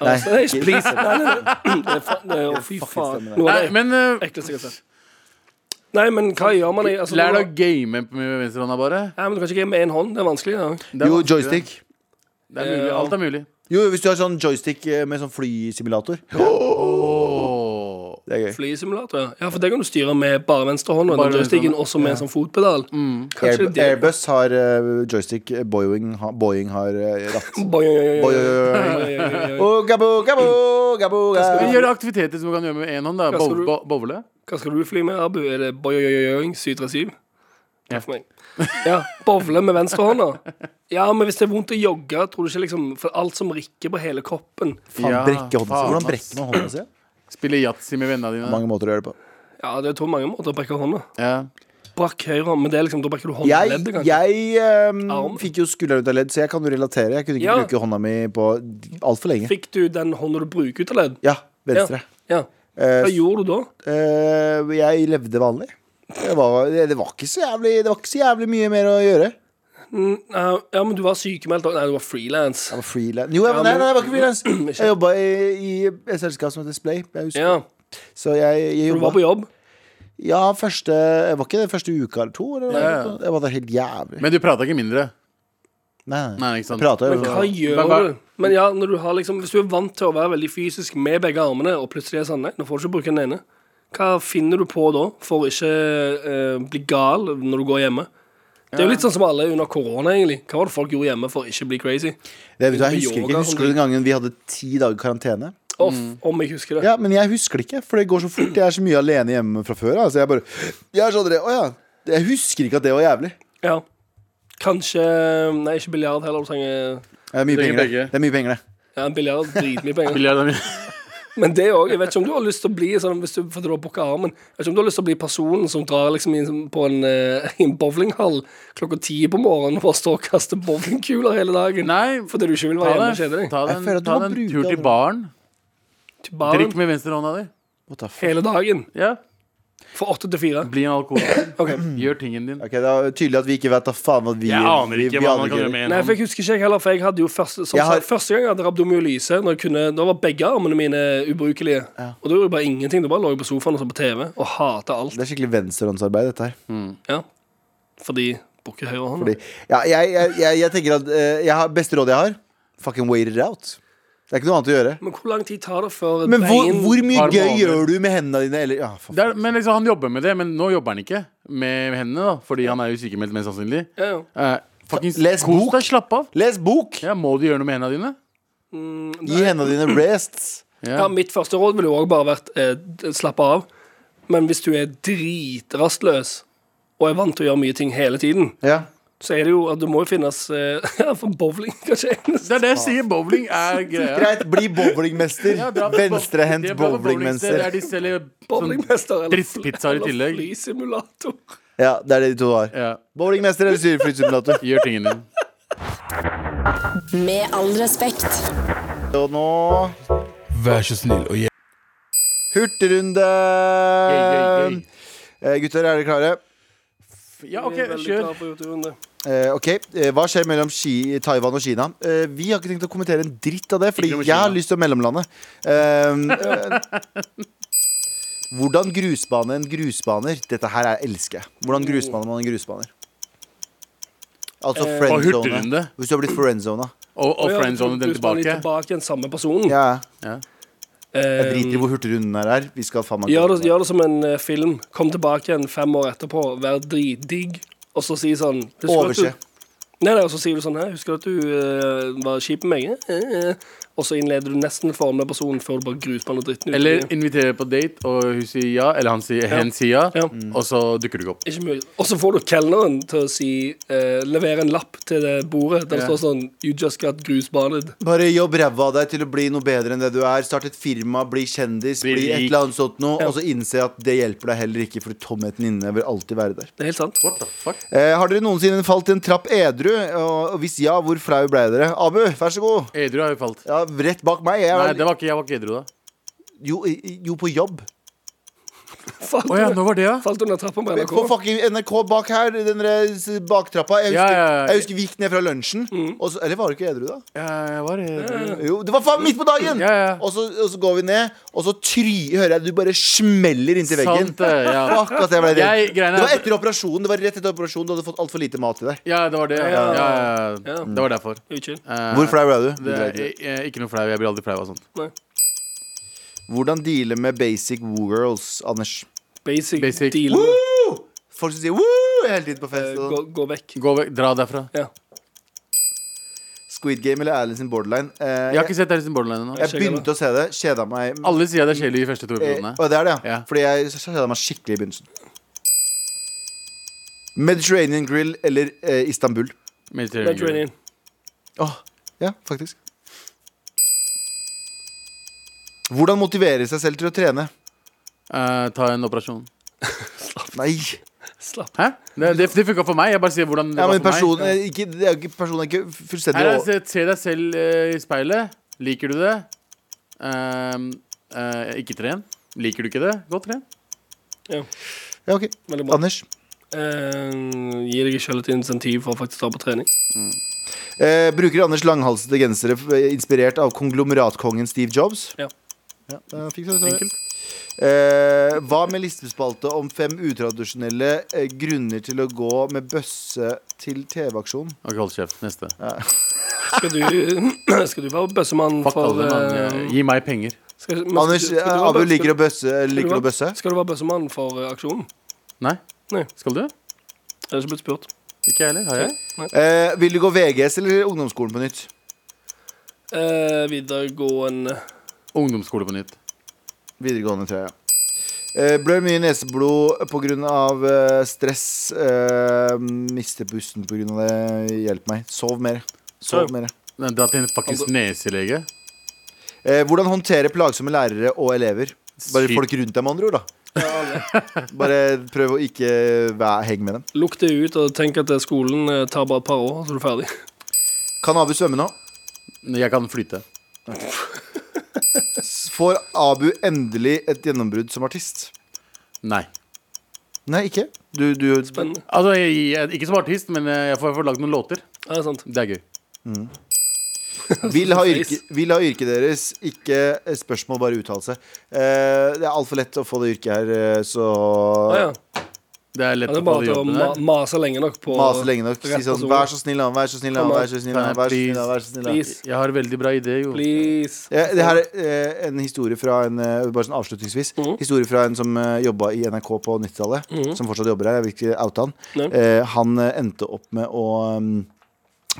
[SPEAKER 3] Nei, please.
[SPEAKER 2] ikke-
[SPEAKER 3] Nei, nei, nei. Det er fa- det er- Å, fy
[SPEAKER 2] fucking
[SPEAKER 3] faen.
[SPEAKER 2] stemmer det.
[SPEAKER 3] Noe
[SPEAKER 4] Nei,
[SPEAKER 3] av det
[SPEAKER 4] men eh,
[SPEAKER 3] ekleste jeg har sett. Nei, men hva gjør man i altså,
[SPEAKER 4] lær
[SPEAKER 3] når-
[SPEAKER 4] deg å game med venstrehånda, bare.
[SPEAKER 3] Nei, men Du kan ikke game med én hånd. Det er vanskelig. Ja.
[SPEAKER 4] Det er
[SPEAKER 2] Jo,
[SPEAKER 4] vanskelig.
[SPEAKER 2] joystick.
[SPEAKER 4] Det er mulig. Alt er mulig.
[SPEAKER 2] Jo, hvis du har sånn joystick eh, med sånn flysimulator.
[SPEAKER 4] Åh.
[SPEAKER 2] Det er gøy.
[SPEAKER 3] Flysimulator. ja. Ja, for det kan du styre med bare venstrehånda.
[SPEAKER 4] Bare
[SPEAKER 3] Bare joysticken,
[SPEAKER 4] venstrehånda.
[SPEAKER 3] også med en sånn fotpedal. Kanskje
[SPEAKER 2] Air,
[SPEAKER 3] det
[SPEAKER 2] Airbus har eh, joystick, eh, Boeing, ha, Boeing har eh, ratt.
[SPEAKER 3] [LAUGHS] Boing, oi,
[SPEAKER 2] Boing,
[SPEAKER 3] oi,
[SPEAKER 2] oi,
[SPEAKER 3] oi,
[SPEAKER 2] oi,
[SPEAKER 3] oi, oi, oi, oi.
[SPEAKER 2] Oh, gabo, gabo, gabo,
[SPEAKER 4] Men
[SPEAKER 2] gabo.
[SPEAKER 4] Gjør aktiviteter som du kan gjøre med én hånd. da
[SPEAKER 3] Hva skal
[SPEAKER 4] Bow-
[SPEAKER 3] du-
[SPEAKER 4] bo- Bowle.
[SPEAKER 3] Hva skal du fly med, Abu? Er det boing 737? Takk for meg. Ja, Bowle med venstrehånda. Ja, men hvis det er vondt å jogge, tror du ikke liksom For alt som rikker på hele kroppen
[SPEAKER 2] Faen,
[SPEAKER 4] Ja,
[SPEAKER 2] brekke hånda si.
[SPEAKER 4] faen,
[SPEAKER 2] Hvordan
[SPEAKER 4] ass.
[SPEAKER 2] brekker man hånda si?
[SPEAKER 4] Spille yatzy med vennene dine.
[SPEAKER 2] Mange måter å gjøre det på.
[SPEAKER 3] Ja, det er to mange måter å brekke hånda.
[SPEAKER 4] Ja.
[SPEAKER 3] Brakk høyre hånd, men det er liksom, da brekker du
[SPEAKER 2] Jeg,
[SPEAKER 3] håndleddet, kanskje.
[SPEAKER 2] jeg ehm,
[SPEAKER 3] Arm.
[SPEAKER 2] fikk jo skulderen ut av ledd, så jeg kan jo relatere. Jeg kunne ikke
[SPEAKER 3] Ja.
[SPEAKER 2] bruke hånda mi på altfor lenge.
[SPEAKER 3] Fikk du den hånda du bruker ut av ledd?
[SPEAKER 2] Ja, venstre.
[SPEAKER 3] Ja.
[SPEAKER 2] Eh,
[SPEAKER 3] Hva gjorde du da?
[SPEAKER 2] Eh, jeg levde vanlig. Det var, det, det, var ikke så jævlig, det var ikke så jævlig mye mer å gjøre.
[SPEAKER 3] Mm, eh, ja, men du var sykemeldt òg. Nei, du var frilans.
[SPEAKER 2] Jeg var freelance. Jo, jeg,
[SPEAKER 3] Ja,
[SPEAKER 2] nei,
[SPEAKER 3] men-
[SPEAKER 2] nei, jeg var ikke
[SPEAKER 3] [CLEARS THROAT]
[SPEAKER 2] freelance.
[SPEAKER 3] Ikke.
[SPEAKER 2] Jeg jobba i, i et selskap som heter Splay. Jeg husker.
[SPEAKER 3] Ja,
[SPEAKER 2] Så jeg, jeg
[SPEAKER 3] du var på
[SPEAKER 2] jobba
[SPEAKER 3] jobb.
[SPEAKER 2] Ja, første jeg Var ikke det første uka eller to? Eller,
[SPEAKER 4] Ja, ja.
[SPEAKER 2] Jeg var der helt jævlig.
[SPEAKER 4] Men du prata ikke mindre.
[SPEAKER 2] nei, nei.
[SPEAKER 4] Nei, ikke sant?
[SPEAKER 2] Prata jo
[SPEAKER 3] Men hva gjør
[SPEAKER 4] Sånn. Men hva-
[SPEAKER 3] du? Men ja, når du har liksom, Hvis du er vant til å være veldig fysisk med begge armene, og plutselig er sånn Nei, nå får du ikke bruke den ene. Hva finner du på da for å ikke eh, bli gal når du går hjemme? Det er jo litt sånn som alle under korona, egentlig. Hva var det folk gjorde hjemme for å ikke bli crazy?
[SPEAKER 2] det, vet du,
[SPEAKER 3] Med
[SPEAKER 2] jeg husker
[SPEAKER 3] yoga
[SPEAKER 2] ikke.
[SPEAKER 3] og
[SPEAKER 2] Husker du den gangen vi hadde ti dager karantene?
[SPEAKER 3] Off, om jeg husker det.
[SPEAKER 2] Ja, men jeg husker det ikke, for det går så fort. Jeg er så mye alene hjemme fra før. Altså, jeg bare jeg er sånn, Å ja. Jeg husker ikke at det var jævlig.
[SPEAKER 3] Ja. Kanskje eh, Nei, ikke biljard heller. Du trenger
[SPEAKER 2] Det er mye
[SPEAKER 4] Trenger
[SPEAKER 2] penger, det.
[SPEAKER 4] begge.
[SPEAKER 2] Det er mye penger, det.
[SPEAKER 3] Ja, biljard er dritmye penger.
[SPEAKER 4] Billiard er mye.
[SPEAKER 3] Men det òg. Jeg vet ikke om du har lyst til å bli sånn hvis du, for du har booka armen. Jeg vet ikke om du har lyst til å bli personen som drar liksom inn på en, eh, i en bowlinghall klokka ti på morgenen og bare står og kaster bowlingkuler hele dagen.
[SPEAKER 4] [LAUGHS] Nei,
[SPEAKER 3] Fordi du ikke vil være
[SPEAKER 4] ta
[SPEAKER 3] hjemme og kjede
[SPEAKER 4] deg
[SPEAKER 3] deg.
[SPEAKER 4] ta
[SPEAKER 2] Jeg
[SPEAKER 4] deg
[SPEAKER 2] føler at
[SPEAKER 4] en,
[SPEAKER 2] du
[SPEAKER 4] ta
[SPEAKER 2] må
[SPEAKER 4] deg en
[SPEAKER 2] bruke
[SPEAKER 4] tur til
[SPEAKER 2] andre.
[SPEAKER 4] baren.
[SPEAKER 3] Til baren
[SPEAKER 4] Drikk med venstrehånda di.
[SPEAKER 2] What the fuck?
[SPEAKER 3] hele dagen.
[SPEAKER 4] Ja.
[SPEAKER 3] Fra åtte til fire.
[SPEAKER 4] Bli en alkoholiker.
[SPEAKER 3] Ok.
[SPEAKER 4] Gjør tingen din.
[SPEAKER 2] Ok, Det er tydelig at vi ikke vet da faen hva vi
[SPEAKER 4] Jeg aner
[SPEAKER 2] vi-
[SPEAKER 4] ikke
[SPEAKER 2] vi
[SPEAKER 4] hva
[SPEAKER 2] aner
[SPEAKER 4] man kan
[SPEAKER 2] ikke.
[SPEAKER 4] gjøre med en
[SPEAKER 3] Nei, for
[SPEAKER 4] hånd.
[SPEAKER 3] jeg husker ikke jeg heller, for jeg hadde jo første, som
[SPEAKER 2] Jeg har-
[SPEAKER 3] sagt, første gang jeg hadde rabdomyolyse. Når jeg kunne, da var begge armene mine ubrukelige. Og da gjorde jeg bare ingenting. Da bare lå jeg på sofaen og så på TV og hata alt.
[SPEAKER 2] Det er skikkelig venstrehåndsarbeid, dette her.
[SPEAKER 3] Ja. Fordi bukker høyre hånd.
[SPEAKER 2] Fordi, ja, jeg, jeg, jeg, jeg tenker at eh, jeg har, Beste rådet jeg har, fucking wait it out. Det er ikke noe annet å gjøre.
[SPEAKER 3] Men hvor lang tid tar det før
[SPEAKER 2] Men hvor,
[SPEAKER 3] bein-
[SPEAKER 2] hvor mye
[SPEAKER 4] Arm og
[SPEAKER 2] gøy
[SPEAKER 4] armer.
[SPEAKER 2] gjør du med hendene dine? Eller, ja, for,
[SPEAKER 4] Det er, men liksom Han jobber med det, men nå jobber han ikke med hendene. da Fordi han er jo sykemeldt, mest sannsynlig.
[SPEAKER 3] Ja, ja.
[SPEAKER 4] Eh, fucking
[SPEAKER 2] Les
[SPEAKER 4] kos
[SPEAKER 2] bok.
[SPEAKER 4] deg, slapp av.
[SPEAKER 2] Les bok!
[SPEAKER 4] Ja, Må du gjøre noe med hendene dine?
[SPEAKER 2] Gi hendene dine rests.
[SPEAKER 4] Ja.
[SPEAKER 3] Ja, Mitt første råd ville jo òg bare vært eh, d- slappe av. Men hvis du er dritrastløs og er vant til å gjøre mye ting hele tiden,
[SPEAKER 2] Ja.
[SPEAKER 3] så er det jo at det må jo finnes eh, [LAUGHS] Ja, for bowling, kanskje.
[SPEAKER 4] Det er det jeg sier. Bowling
[SPEAKER 2] [LAUGHS]
[SPEAKER 4] er greia.
[SPEAKER 2] Greit, bli bowlingmester.
[SPEAKER 4] Ja, dra på bow-
[SPEAKER 2] Venstrehendt
[SPEAKER 4] de er bra på bowlingsted,
[SPEAKER 2] bowlingmester.
[SPEAKER 4] Der de selger sånn
[SPEAKER 3] Bowlingmester eller,
[SPEAKER 4] drittpizzaer i tillegg.
[SPEAKER 3] flysimulator.
[SPEAKER 2] Ja, det er det de to har.
[SPEAKER 4] ja,
[SPEAKER 2] Bowlingmester eller
[SPEAKER 4] [LAUGHS]
[SPEAKER 2] syreflytsimulator.
[SPEAKER 4] Gjør tingen
[SPEAKER 2] [LAUGHS]
[SPEAKER 4] din.
[SPEAKER 7] Med all respekt.
[SPEAKER 2] Og nå
[SPEAKER 6] Vær så snill og hjelp.
[SPEAKER 2] Hurtigrunde!
[SPEAKER 4] Gøy, gøy, gøy.
[SPEAKER 2] Eh, gutter, er dere klare?
[SPEAKER 4] Ehm, Ja, OK,
[SPEAKER 3] Vi er veldig
[SPEAKER 4] kjør.
[SPEAKER 3] glad for Jotunrunde.
[SPEAKER 2] Eh, ok, eh, Hva skjer mellom Ki- Taiwan og Kina? Eh, vi har ikke tenkt å kommentere en dritt av det, fordi
[SPEAKER 4] Ikke noe med
[SPEAKER 2] jeg har
[SPEAKER 4] Kina.
[SPEAKER 2] lyst til å mellomlande. Eh, eh, hvordan grusbane en grusbaner? Dette her er elsker jeg. Hvordan grusbaner man en grusbaner? Altså
[SPEAKER 4] Og
[SPEAKER 2] friendzone.
[SPEAKER 4] hurtigrunde.
[SPEAKER 2] Hvis du har blitt friendzona.
[SPEAKER 4] Og, og friendzone
[SPEAKER 3] Plutselig
[SPEAKER 4] den
[SPEAKER 3] er de
[SPEAKER 4] tilbake.
[SPEAKER 3] tilbake igjen, samme personen.
[SPEAKER 2] Ja, jeg
[SPEAKER 3] Eh,
[SPEAKER 2] driter i hvor hurtigrunden her er. Vi skal faen meg
[SPEAKER 3] gjør, det, gjør det som en eh, film. Kom tilbake igjen fem år etterpå, vær dritdigg, og så si sånn «Husker du at du-
[SPEAKER 2] Overse.
[SPEAKER 3] Nei, nei, og så sier du sånn Hæ, husker du at du eh, var kjip med meg? Eh, eh, eh. Og så innleder du nesten formelen personen før du bare grusballer dritten ut.
[SPEAKER 4] Eller invitere på date, og hun sier ja, eller han sier, hen sier ja,
[SPEAKER 3] Ja.
[SPEAKER 4] og så dukker du ikke opp.
[SPEAKER 3] Ikke mye. Og så får du kelneren til å si eh, levere en lapp til det bordet der det
[SPEAKER 4] Ja.
[SPEAKER 3] står sånn You just got grusbadet.
[SPEAKER 2] Bare jobb ræva av deg til å bli noe bedre enn det du er. Start et firma, bli kjendis,
[SPEAKER 4] Bli
[SPEAKER 2] bli, et
[SPEAKER 4] rik.
[SPEAKER 2] eller annet sånt noe. Og så innse at det hjelper deg heller ikke, for tomheten inne vil alltid være der.
[SPEAKER 3] Det er helt sant.
[SPEAKER 4] What the fuck?
[SPEAKER 2] Eh, har dere noensinne falt i en trapp edru? Og og hvis ja, hvor flau ble dere? Abu, vær så god.
[SPEAKER 4] Edru har jo falt.
[SPEAKER 2] Ja, rett bak meg. Jeg
[SPEAKER 4] Nei,
[SPEAKER 2] var,
[SPEAKER 4] det var ikke, jeg var ikke edru da.
[SPEAKER 2] jo, i- i- jo, på jobb.
[SPEAKER 3] Falt,
[SPEAKER 4] Å ja, nå var det, ja.
[SPEAKER 3] falt under trappa med NRK.
[SPEAKER 2] På fucking NRK bak her. Den der eh, s- baktrappa. Jeg husker,
[SPEAKER 4] Ja, ja, ja. Mm.
[SPEAKER 2] jeg husker vi gikk ned fra lunsjen. Og så, eller var du ikke edru da?
[SPEAKER 4] Ja, jeg var edru.
[SPEAKER 2] Jo, det var faen midt på dagen!
[SPEAKER 4] Ja, ja.
[SPEAKER 2] Og, så, og så går vi ned, og så try, hører jeg du bare smeller inntil veggen.
[SPEAKER 4] Sant det, ja.
[SPEAKER 2] [LAUGHS] Fuck at jeg ble redd.
[SPEAKER 4] Jeg- greiene er-
[SPEAKER 2] det var etter operasjonen. Det var rett etter operasjonen Du hadde fått altfor lite mat i deg.
[SPEAKER 4] Ja, det var det. Ja, ja, ja.
[SPEAKER 3] Ja.
[SPEAKER 4] Det var derfor.
[SPEAKER 3] Unnskyld.
[SPEAKER 4] Eh,
[SPEAKER 2] Hvor flau ble du?
[SPEAKER 4] Det er eh, ikke noe flau. Jeg blir aldri flau av sånt.
[SPEAKER 2] Hvordan deale med basic woo-girls, Anders?
[SPEAKER 3] Basic,
[SPEAKER 4] Basic.
[SPEAKER 3] deal.
[SPEAKER 2] Woo! Folk som sier woo hele tiden på
[SPEAKER 3] Eh,
[SPEAKER 2] fest.
[SPEAKER 3] gå,
[SPEAKER 2] Og
[SPEAKER 3] gå vekk.
[SPEAKER 4] Gå vekk. Dra derfra.
[SPEAKER 3] Ja.
[SPEAKER 2] Squid Game eller Alice in Borderline. Eh,
[SPEAKER 4] Jeg har
[SPEAKER 2] jeg,
[SPEAKER 4] ikke sett Harrison Borderline ennå.
[SPEAKER 2] jeg begynte å se det, kjeda meg.
[SPEAKER 4] Alle sier det er kjedelig i første to
[SPEAKER 2] Eh,
[SPEAKER 4] episodene.
[SPEAKER 2] og det er det, ja.
[SPEAKER 4] Ja.
[SPEAKER 2] Fordi jeg kjeda meg skikkelig i begynnelsen. Mediterranean Grill eller eh, Istanbul?
[SPEAKER 4] Mediterranean.
[SPEAKER 3] Mediterranean.
[SPEAKER 2] Åh, ja, faktisk. Hvordan motivere seg selv til å trene?
[SPEAKER 4] Eh, ta en operasjon.
[SPEAKER 2] Nei.
[SPEAKER 3] Slapp.
[SPEAKER 4] Hæ? Det, det, det funka for meg. Jeg bare sier hvordan det
[SPEAKER 2] Ja,
[SPEAKER 4] var
[SPEAKER 2] men
[SPEAKER 4] for
[SPEAKER 2] person,
[SPEAKER 4] meg.
[SPEAKER 2] eh, ikke, det er jo ikke, personen er ikke fullstendig
[SPEAKER 4] Her er,
[SPEAKER 2] over-
[SPEAKER 4] se, se deg selv eh, i speilet. Liker du det? Ehm, eh, ikke tren. Liker du ikke det? Godt tren.
[SPEAKER 2] Ja, ok.
[SPEAKER 3] Veldig bra.
[SPEAKER 2] Anders.
[SPEAKER 3] Eh, gi deg selv et insentiv for å faktisk dra på trening.
[SPEAKER 2] Eh, bruker Anders langhalsete gensere f- eh, inspirert av konglomeratkongen Steve Jobs?
[SPEAKER 3] Ja.
[SPEAKER 2] Ja, da fikk du det, Sverre.
[SPEAKER 4] Enkelt.
[SPEAKER 2] Eh, hva med listespalte om fem utradisjonelle eh, grunner til å gå med bøsse til TV-aksjon?
[SPEAKER 4] OK, hold kjeft. Neste.
[SPEAKER 3] Skal du, [CLEARS THROAT] skal du være bøssemann
[SPEAKER 4] Fuck
[SPEAKER 3] for
[SPEAKER 4] alle, mann.
[SPEAKER 3] eh,
[SPEAKER 4] Eh, Gi meg penger.
[SPEAKER 3] skal, men skal-
[SPEAKER 2] Anders,
[SPEAKER 3] skal du
[SPEAKER 2] eh,
[SPEAKER 3] være
[SPEAKER 2] Abu
[SPEAKER 3] bøs-
[SPEAKER 2] liker å bøsse.
[SPEAKER 3] skal du
[SPEAKER 2] Liker å
[SPEAKER 3] være-
[SPEAKER 2] bøsse.
[SPEAKER 3] Skal du være bøssemann for eh, aksjonen?
[SPEAKER 4] Nei?
[SPEAKER 3] Nei.
[SPEAKER 4] Skal du?
[SPEAKER 3] Jeg er ikke blitt spurt.
[SPEAKER 4] Ikke jeg heller. Har jeg?
[SPEAKER 2] Eh, vil du gå VGS eller ungdomsskolen på nytt?
[SPEAKER 3] Eh, videregående
[SPEAKER 4] Ungdomsskole på nytt.
[SPEAKER 2] Videregående, tror jeg. ja. Eh, blør mye neseblod pga. Eh, stress. Eh, mister pusten pga. det. Hjelp meg. Sov mer. Sov
[SPEAKER 3] Sov.
[SPEAKER 2] mer.
[SPEAKER 4] Nei, Dra til en
[SPEAKER 3] Altså-
[SPEAKER 4] fuckings neselege.
[SPEAKER 2] Eh, hvordan håndtere plagsomme lærere og elever? Bare
[SPEAKER 4] Skyt.
[SPEAKER 2] folk rundt deg, med andre ord. da [LAUGHS] Bare prøv å ikke væ- henge med dem.
[SPEAKER 3] Lukk det ut og tenk at eh, skolen eh, tar bare et par år, så er du ferdig. [LAUGHS]
[SPEAKER 2] Kan Abu svømme nå?
[SPEAKER 4] Jeg kan flyte.
[SPEAKER 2] S- Får Abu endelig et gjennombrudd som artist?
[SPEAKER 4] Nei.
[SPEAKER 2] Nei, ikke? Du, du
[SPEAKER 3] Spennende.
[SPEAKER 4] Altså, jeg, jeg, ikke som artist, men eh, jeg får, jeg får lagd noen låter.
[SPEAKER 3] Ja, det er sant.
[SPEAKER 4] Det er gøy.
[SPEAKER 3] [LAUGHS]
[SPEAKER 2] vil ha, yrke, vil ha yrket deres, ikke spørsmål, bare uttalelse. Eh, det er altfor lett å få det yrket her, eh, så
[SPEAKER 3] Ah, ja.
[SPEAKER 4] Det er lett
[SPEAKER 3] Ja, det er
[SPEAKER 4] å få de
[SPEAKER 3] bare å
[SPEAKER 4] jobbene
[SPEAKER 3] ma
[SPEAKER 4] der.
[SPEAKER 3] mase lenge nok på
[SPEAKER 2] mase lenge nok. Si
[SPEAKER 3] Rett på
[SPEAKER 2] sånn
[SPEAKER 3] sola.
[SPEAKER 2] Vær så snill, da. Vær så snill, da. Vær så snill, da. Vær så snill, da. Vær så snill, da.
[SPEAKER 3] Please.
[SPEAKER 4] Jeg har en veldig bra idé, jo.
[SPEAKER 3] Please.
[SPEAKER 2] Ja, det her er eh, en historie fra en eh, Bare sånn avslutningsvis Historie fra en som eh, jobba i NRK på 90-tallet. Som fortsatt jobber her. Jeg vil ikke oute han.
[SPEAKER 3] Nei.
[SPEAKER 2] Eh, han eh, endte opp med å um,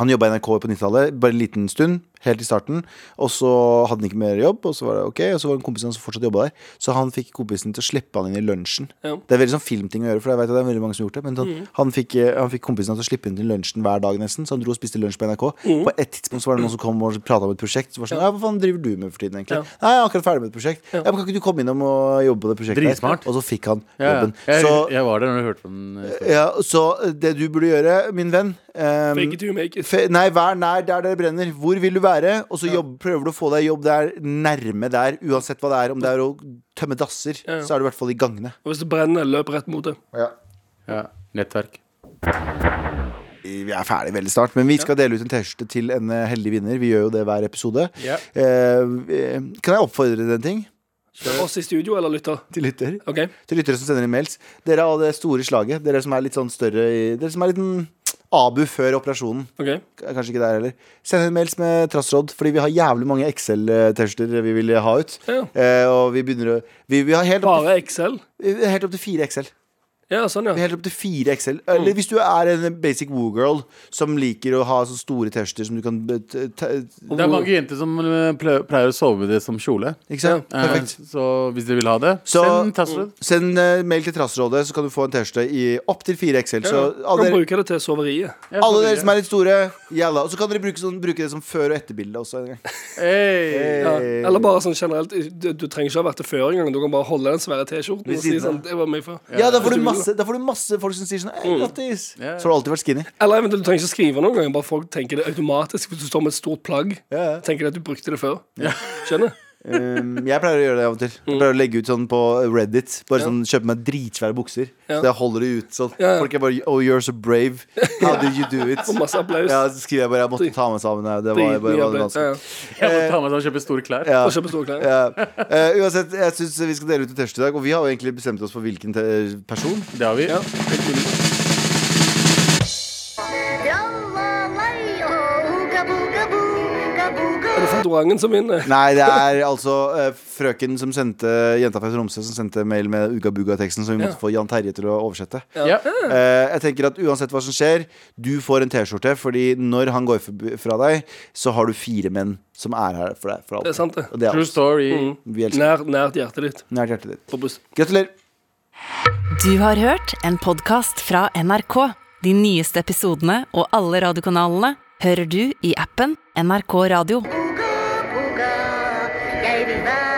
[SPEAKER 2] Han jobba i NRK på 90-tallet bare en liten stund. Helt i starten. Og så hadde han ikke mer jobb, og så var det ok Og så var det en kompis av han som fortsatt jobba der. Så han fikk kompisen til å slippe han inn i lunsjen.
[SPEAKER 3] Ja.
[SPEAKER 2] Det er veldig sånn filmting å gjøre, for jeg vet at det er veldig mange som har gjort det. Men han, han, fikk, eh, han fikk kompisen hans til å slippe inn til lunsjen hver dag, nesten. Så han dro og spiste lunsj på NRK. På et tidspunkt så var det noen som kom og prata om et prosjekt. Så var det sånn, ja. hva faen driver du med for tiden, egentlig?
[SPEAKER 3] Ja.
[SPEAKER 2] Nei, jeg er akkurat ferdig med et prosjekt. Ja. men kan ikke du komme innom og jobbe på det prosjektet? her?»
[SPEAKER 4] Dritsmart.
[SPEAKER 2] Og så fikk han
[SPEAKER 4] Ja, ja.
[SPEAKER 2] jobben.
[SPEAKER 4] jeg,
[SPEAKER 2] Så,
[SPEAKER 4] jeg var der når du hørte på den. eh,
[SPEAKER 2] ja, så det du burde gjøre, min venn, Um,
[SPEAKER 3] Fake it, you make it.
[SPEAKER 2] fe nei, vær nær der det brenner. Hvor vil du være? Og så jobb, prøver du å få deg jobb der nærme der, uansett hva det er. Om det er å tømme dasser,
[SPEAKER 3] Ja, ja.
[SPEAKER 2] så er du i hvert fall i gangene.
[SPEAKER 3] Og hvis det brenner, løp rett mot det.
[SPEAKER 4] Ja, nettverk.
[SPEAKER 2] Vi er ferdig veldig snart, men vi skal dele ut en T-skjorte til en eh, heldig vinner. Vi gjør jo det hver episode.
[SPEAKER 4] Ja.
[SPEAKER 2] Eh, eh, kan jeg oppfordre til en ting?
[SPEAKER 3] Oss i studio eller lytter?
[SPEAKER 2] Til lytter?
[SPEAKER 3] OK.
[SPEAKER 2] Til lyttere som sender inn mails. Dere av det store slaget. Dere som er litt sånn større i, Dere som er litt mm, abu før operasjonen.
[SPEAKER 3] ok
[SPEAKER 2] K- Kanskje ikke der heller. Send inn mails med trassråd, fordi vi har jævlig mange Excel-tester vi vil ha ut.
[SPEAKER 3] Ja.
[SPEAKER 2] Eh, og vi begynner å vi, vi har helt opp,
[SPEAKER 3] Bare Excel?
[SPEAKER 2] til, helt opp til fire Excel.
[SPEAKER 3] Ja, sånn,
[SPEAKER 2] Vi
[SPEAKER 3] ja.
[SPEAKER 2] har helt opp til fire Excel. Eller hvis du er en basic woo-girl som liker å ha så store tester som du kan eh, t- t-
[SPEAKER 4] Det er mange jenter som eh, ple- pleier å sove med det som kjole.
[SPEAKER 2] Ikke sant?
[SPEAKER 4] Eh,
[SPEAKER 2] Perfekt.
[SPEAKER 4] Så hvis dere vil ha det,
[SPEAKER 2] Så-
[SPEAKER 4] send tastrød.
[SPEAKER 2] Send eh, mail til Trassrådet, så kan du få en T-skjorte i opptil fire Excel. Så
[SPEAKER 3] Du
[SPEAKER 2] alle
[SPEAKER 3] kan
[SPEAKER 2] dere,
[SPEAKER 3] bruke det til soveriet.
[SPEAKER 2] alle dere som er litt store, jalla. Og så kan dere bruke, sånn, bruke det som før- og etterbilde også. En gang.
[SPEAKER 4] Hey.
[SPEAKER 3] Ja.
[SPEAKER 2] Eh,
[SPEAKER 3] Eller bare sånn generelt. Du, du trenger ikke ha vært det før engang. Du kan bare holde den svære T-skjorten
[SPEAKER 2] Ved
[SPEAKER 3] og si
[SPEAKER 2] siden av.
[SPEAKER 3] sånn Det var meg før.
[SPEAKER 2] Ja, da får, du
[SPEAKER 3] Hvis du vil,
[SPEAKER 2] masse, da får du masse folk som sier sånn Hei,
[SPEAKER 3] Mm.
[SPEAKER 2] grattis.
[SPEAKER 4] Ja.
[SPEAKER 2] Så har du alltid vært skinny.
[SPEAKER 3] Eller eventuelt du trenger ikke skrive noen gang. Bare folk tenker det automatisk hvis du står med et stort plagg.
[SPEAKER 2] Ja, ja.
[SPEAKER 3] Tenker de at du brukte det før. Skjønner?
[SPEAKER 2] Um, jeg pleier å gjøre det av og til. Jeg pleier å legge ut sånn på Reddit. Bare sånn, Kjøpe meg dritsvære bukser.
[SPEAKER 3] Ja.
[SPEAKER 2] Så jeg holder det ut sånn.
[SPEAKER 3] Ja, ja.
[SPEAKER 2] Folk er bare Oh, you're so brave. How did you
[SPEAKER 3] [LAUGHS]
[SPEAKER 2] do it?
[SPEAKER 3] Og masse applaus.
[SPEAKER 2] Ja, så skriver jeg bare Jeg måtte ta meg sammen. her. Det var,
[SPEAKER 3] Dritmye
[SPEAKER 2] bare, var
[SPEAKER 3] applaus. Ja,
[SPEAKER 2] vanskelig.
[SPEAKER 3] ja.
[SPEAKER 4] Jeg må ta med meg sånn og kjøpe store klær.
[SPEAKER 2] Ja.
[SPEAKER 3] Og kjøpe store klær.
[SPEAKER 2] Ja. Eh, uansett, jeg syns vi skal dele ut en tørst i dag. Og vi har jo egentlig bestemt oss for hvilken te- person.
[SPEAKER 4] Det har vi.
[SPEAKER 3] Ja.
[SPEAKER 1] Tralala-jo, ooga-booga-boo, ooga-booga-boo.
[SPEAKER 3] Er det Fantorangen som eh, vinner?
[SPEAKER 2] Nei, det er altså eh, frøken som sendte jenta fra Tromsø som sendte mail med Uga Buga-teksten, som vi måtte
[SPEAKER 3] Ja.
[SPEAKER 2] få Jan Terje til å oversette.
[SPEAKER 4] Ja.
[SPEAKER 2] Eh, jeg tenker at Uansett hva som skjer, du får en T-skjorte, Fordi når han går forbi- fra deg, så har du fire menn som er her for deg. For alltid.
[SPEAKER 3] Det er sant, det. Mm.
[SPEAKER 2] Og det er
[SPEAKER 4] True
[SPEAKER 2] oss.
[SPEAKER 4] story.
[SPEAKER 2] Vi elsker
[SPEAKER 3] Nær, nært hjertet ditt.
[SPEAKER 2] nært hjertet ditt.
[SPEAKER 3] På brystet.
[SPEAKER 2] Gratulerer.
[SPEAKER 5] Du har hørt en podkast fra NRK. De nyeste episodene og alle radiokanalene hører du i appen NRK Radio.
[SPEAKER 1] Ooga-booga, jeg vil være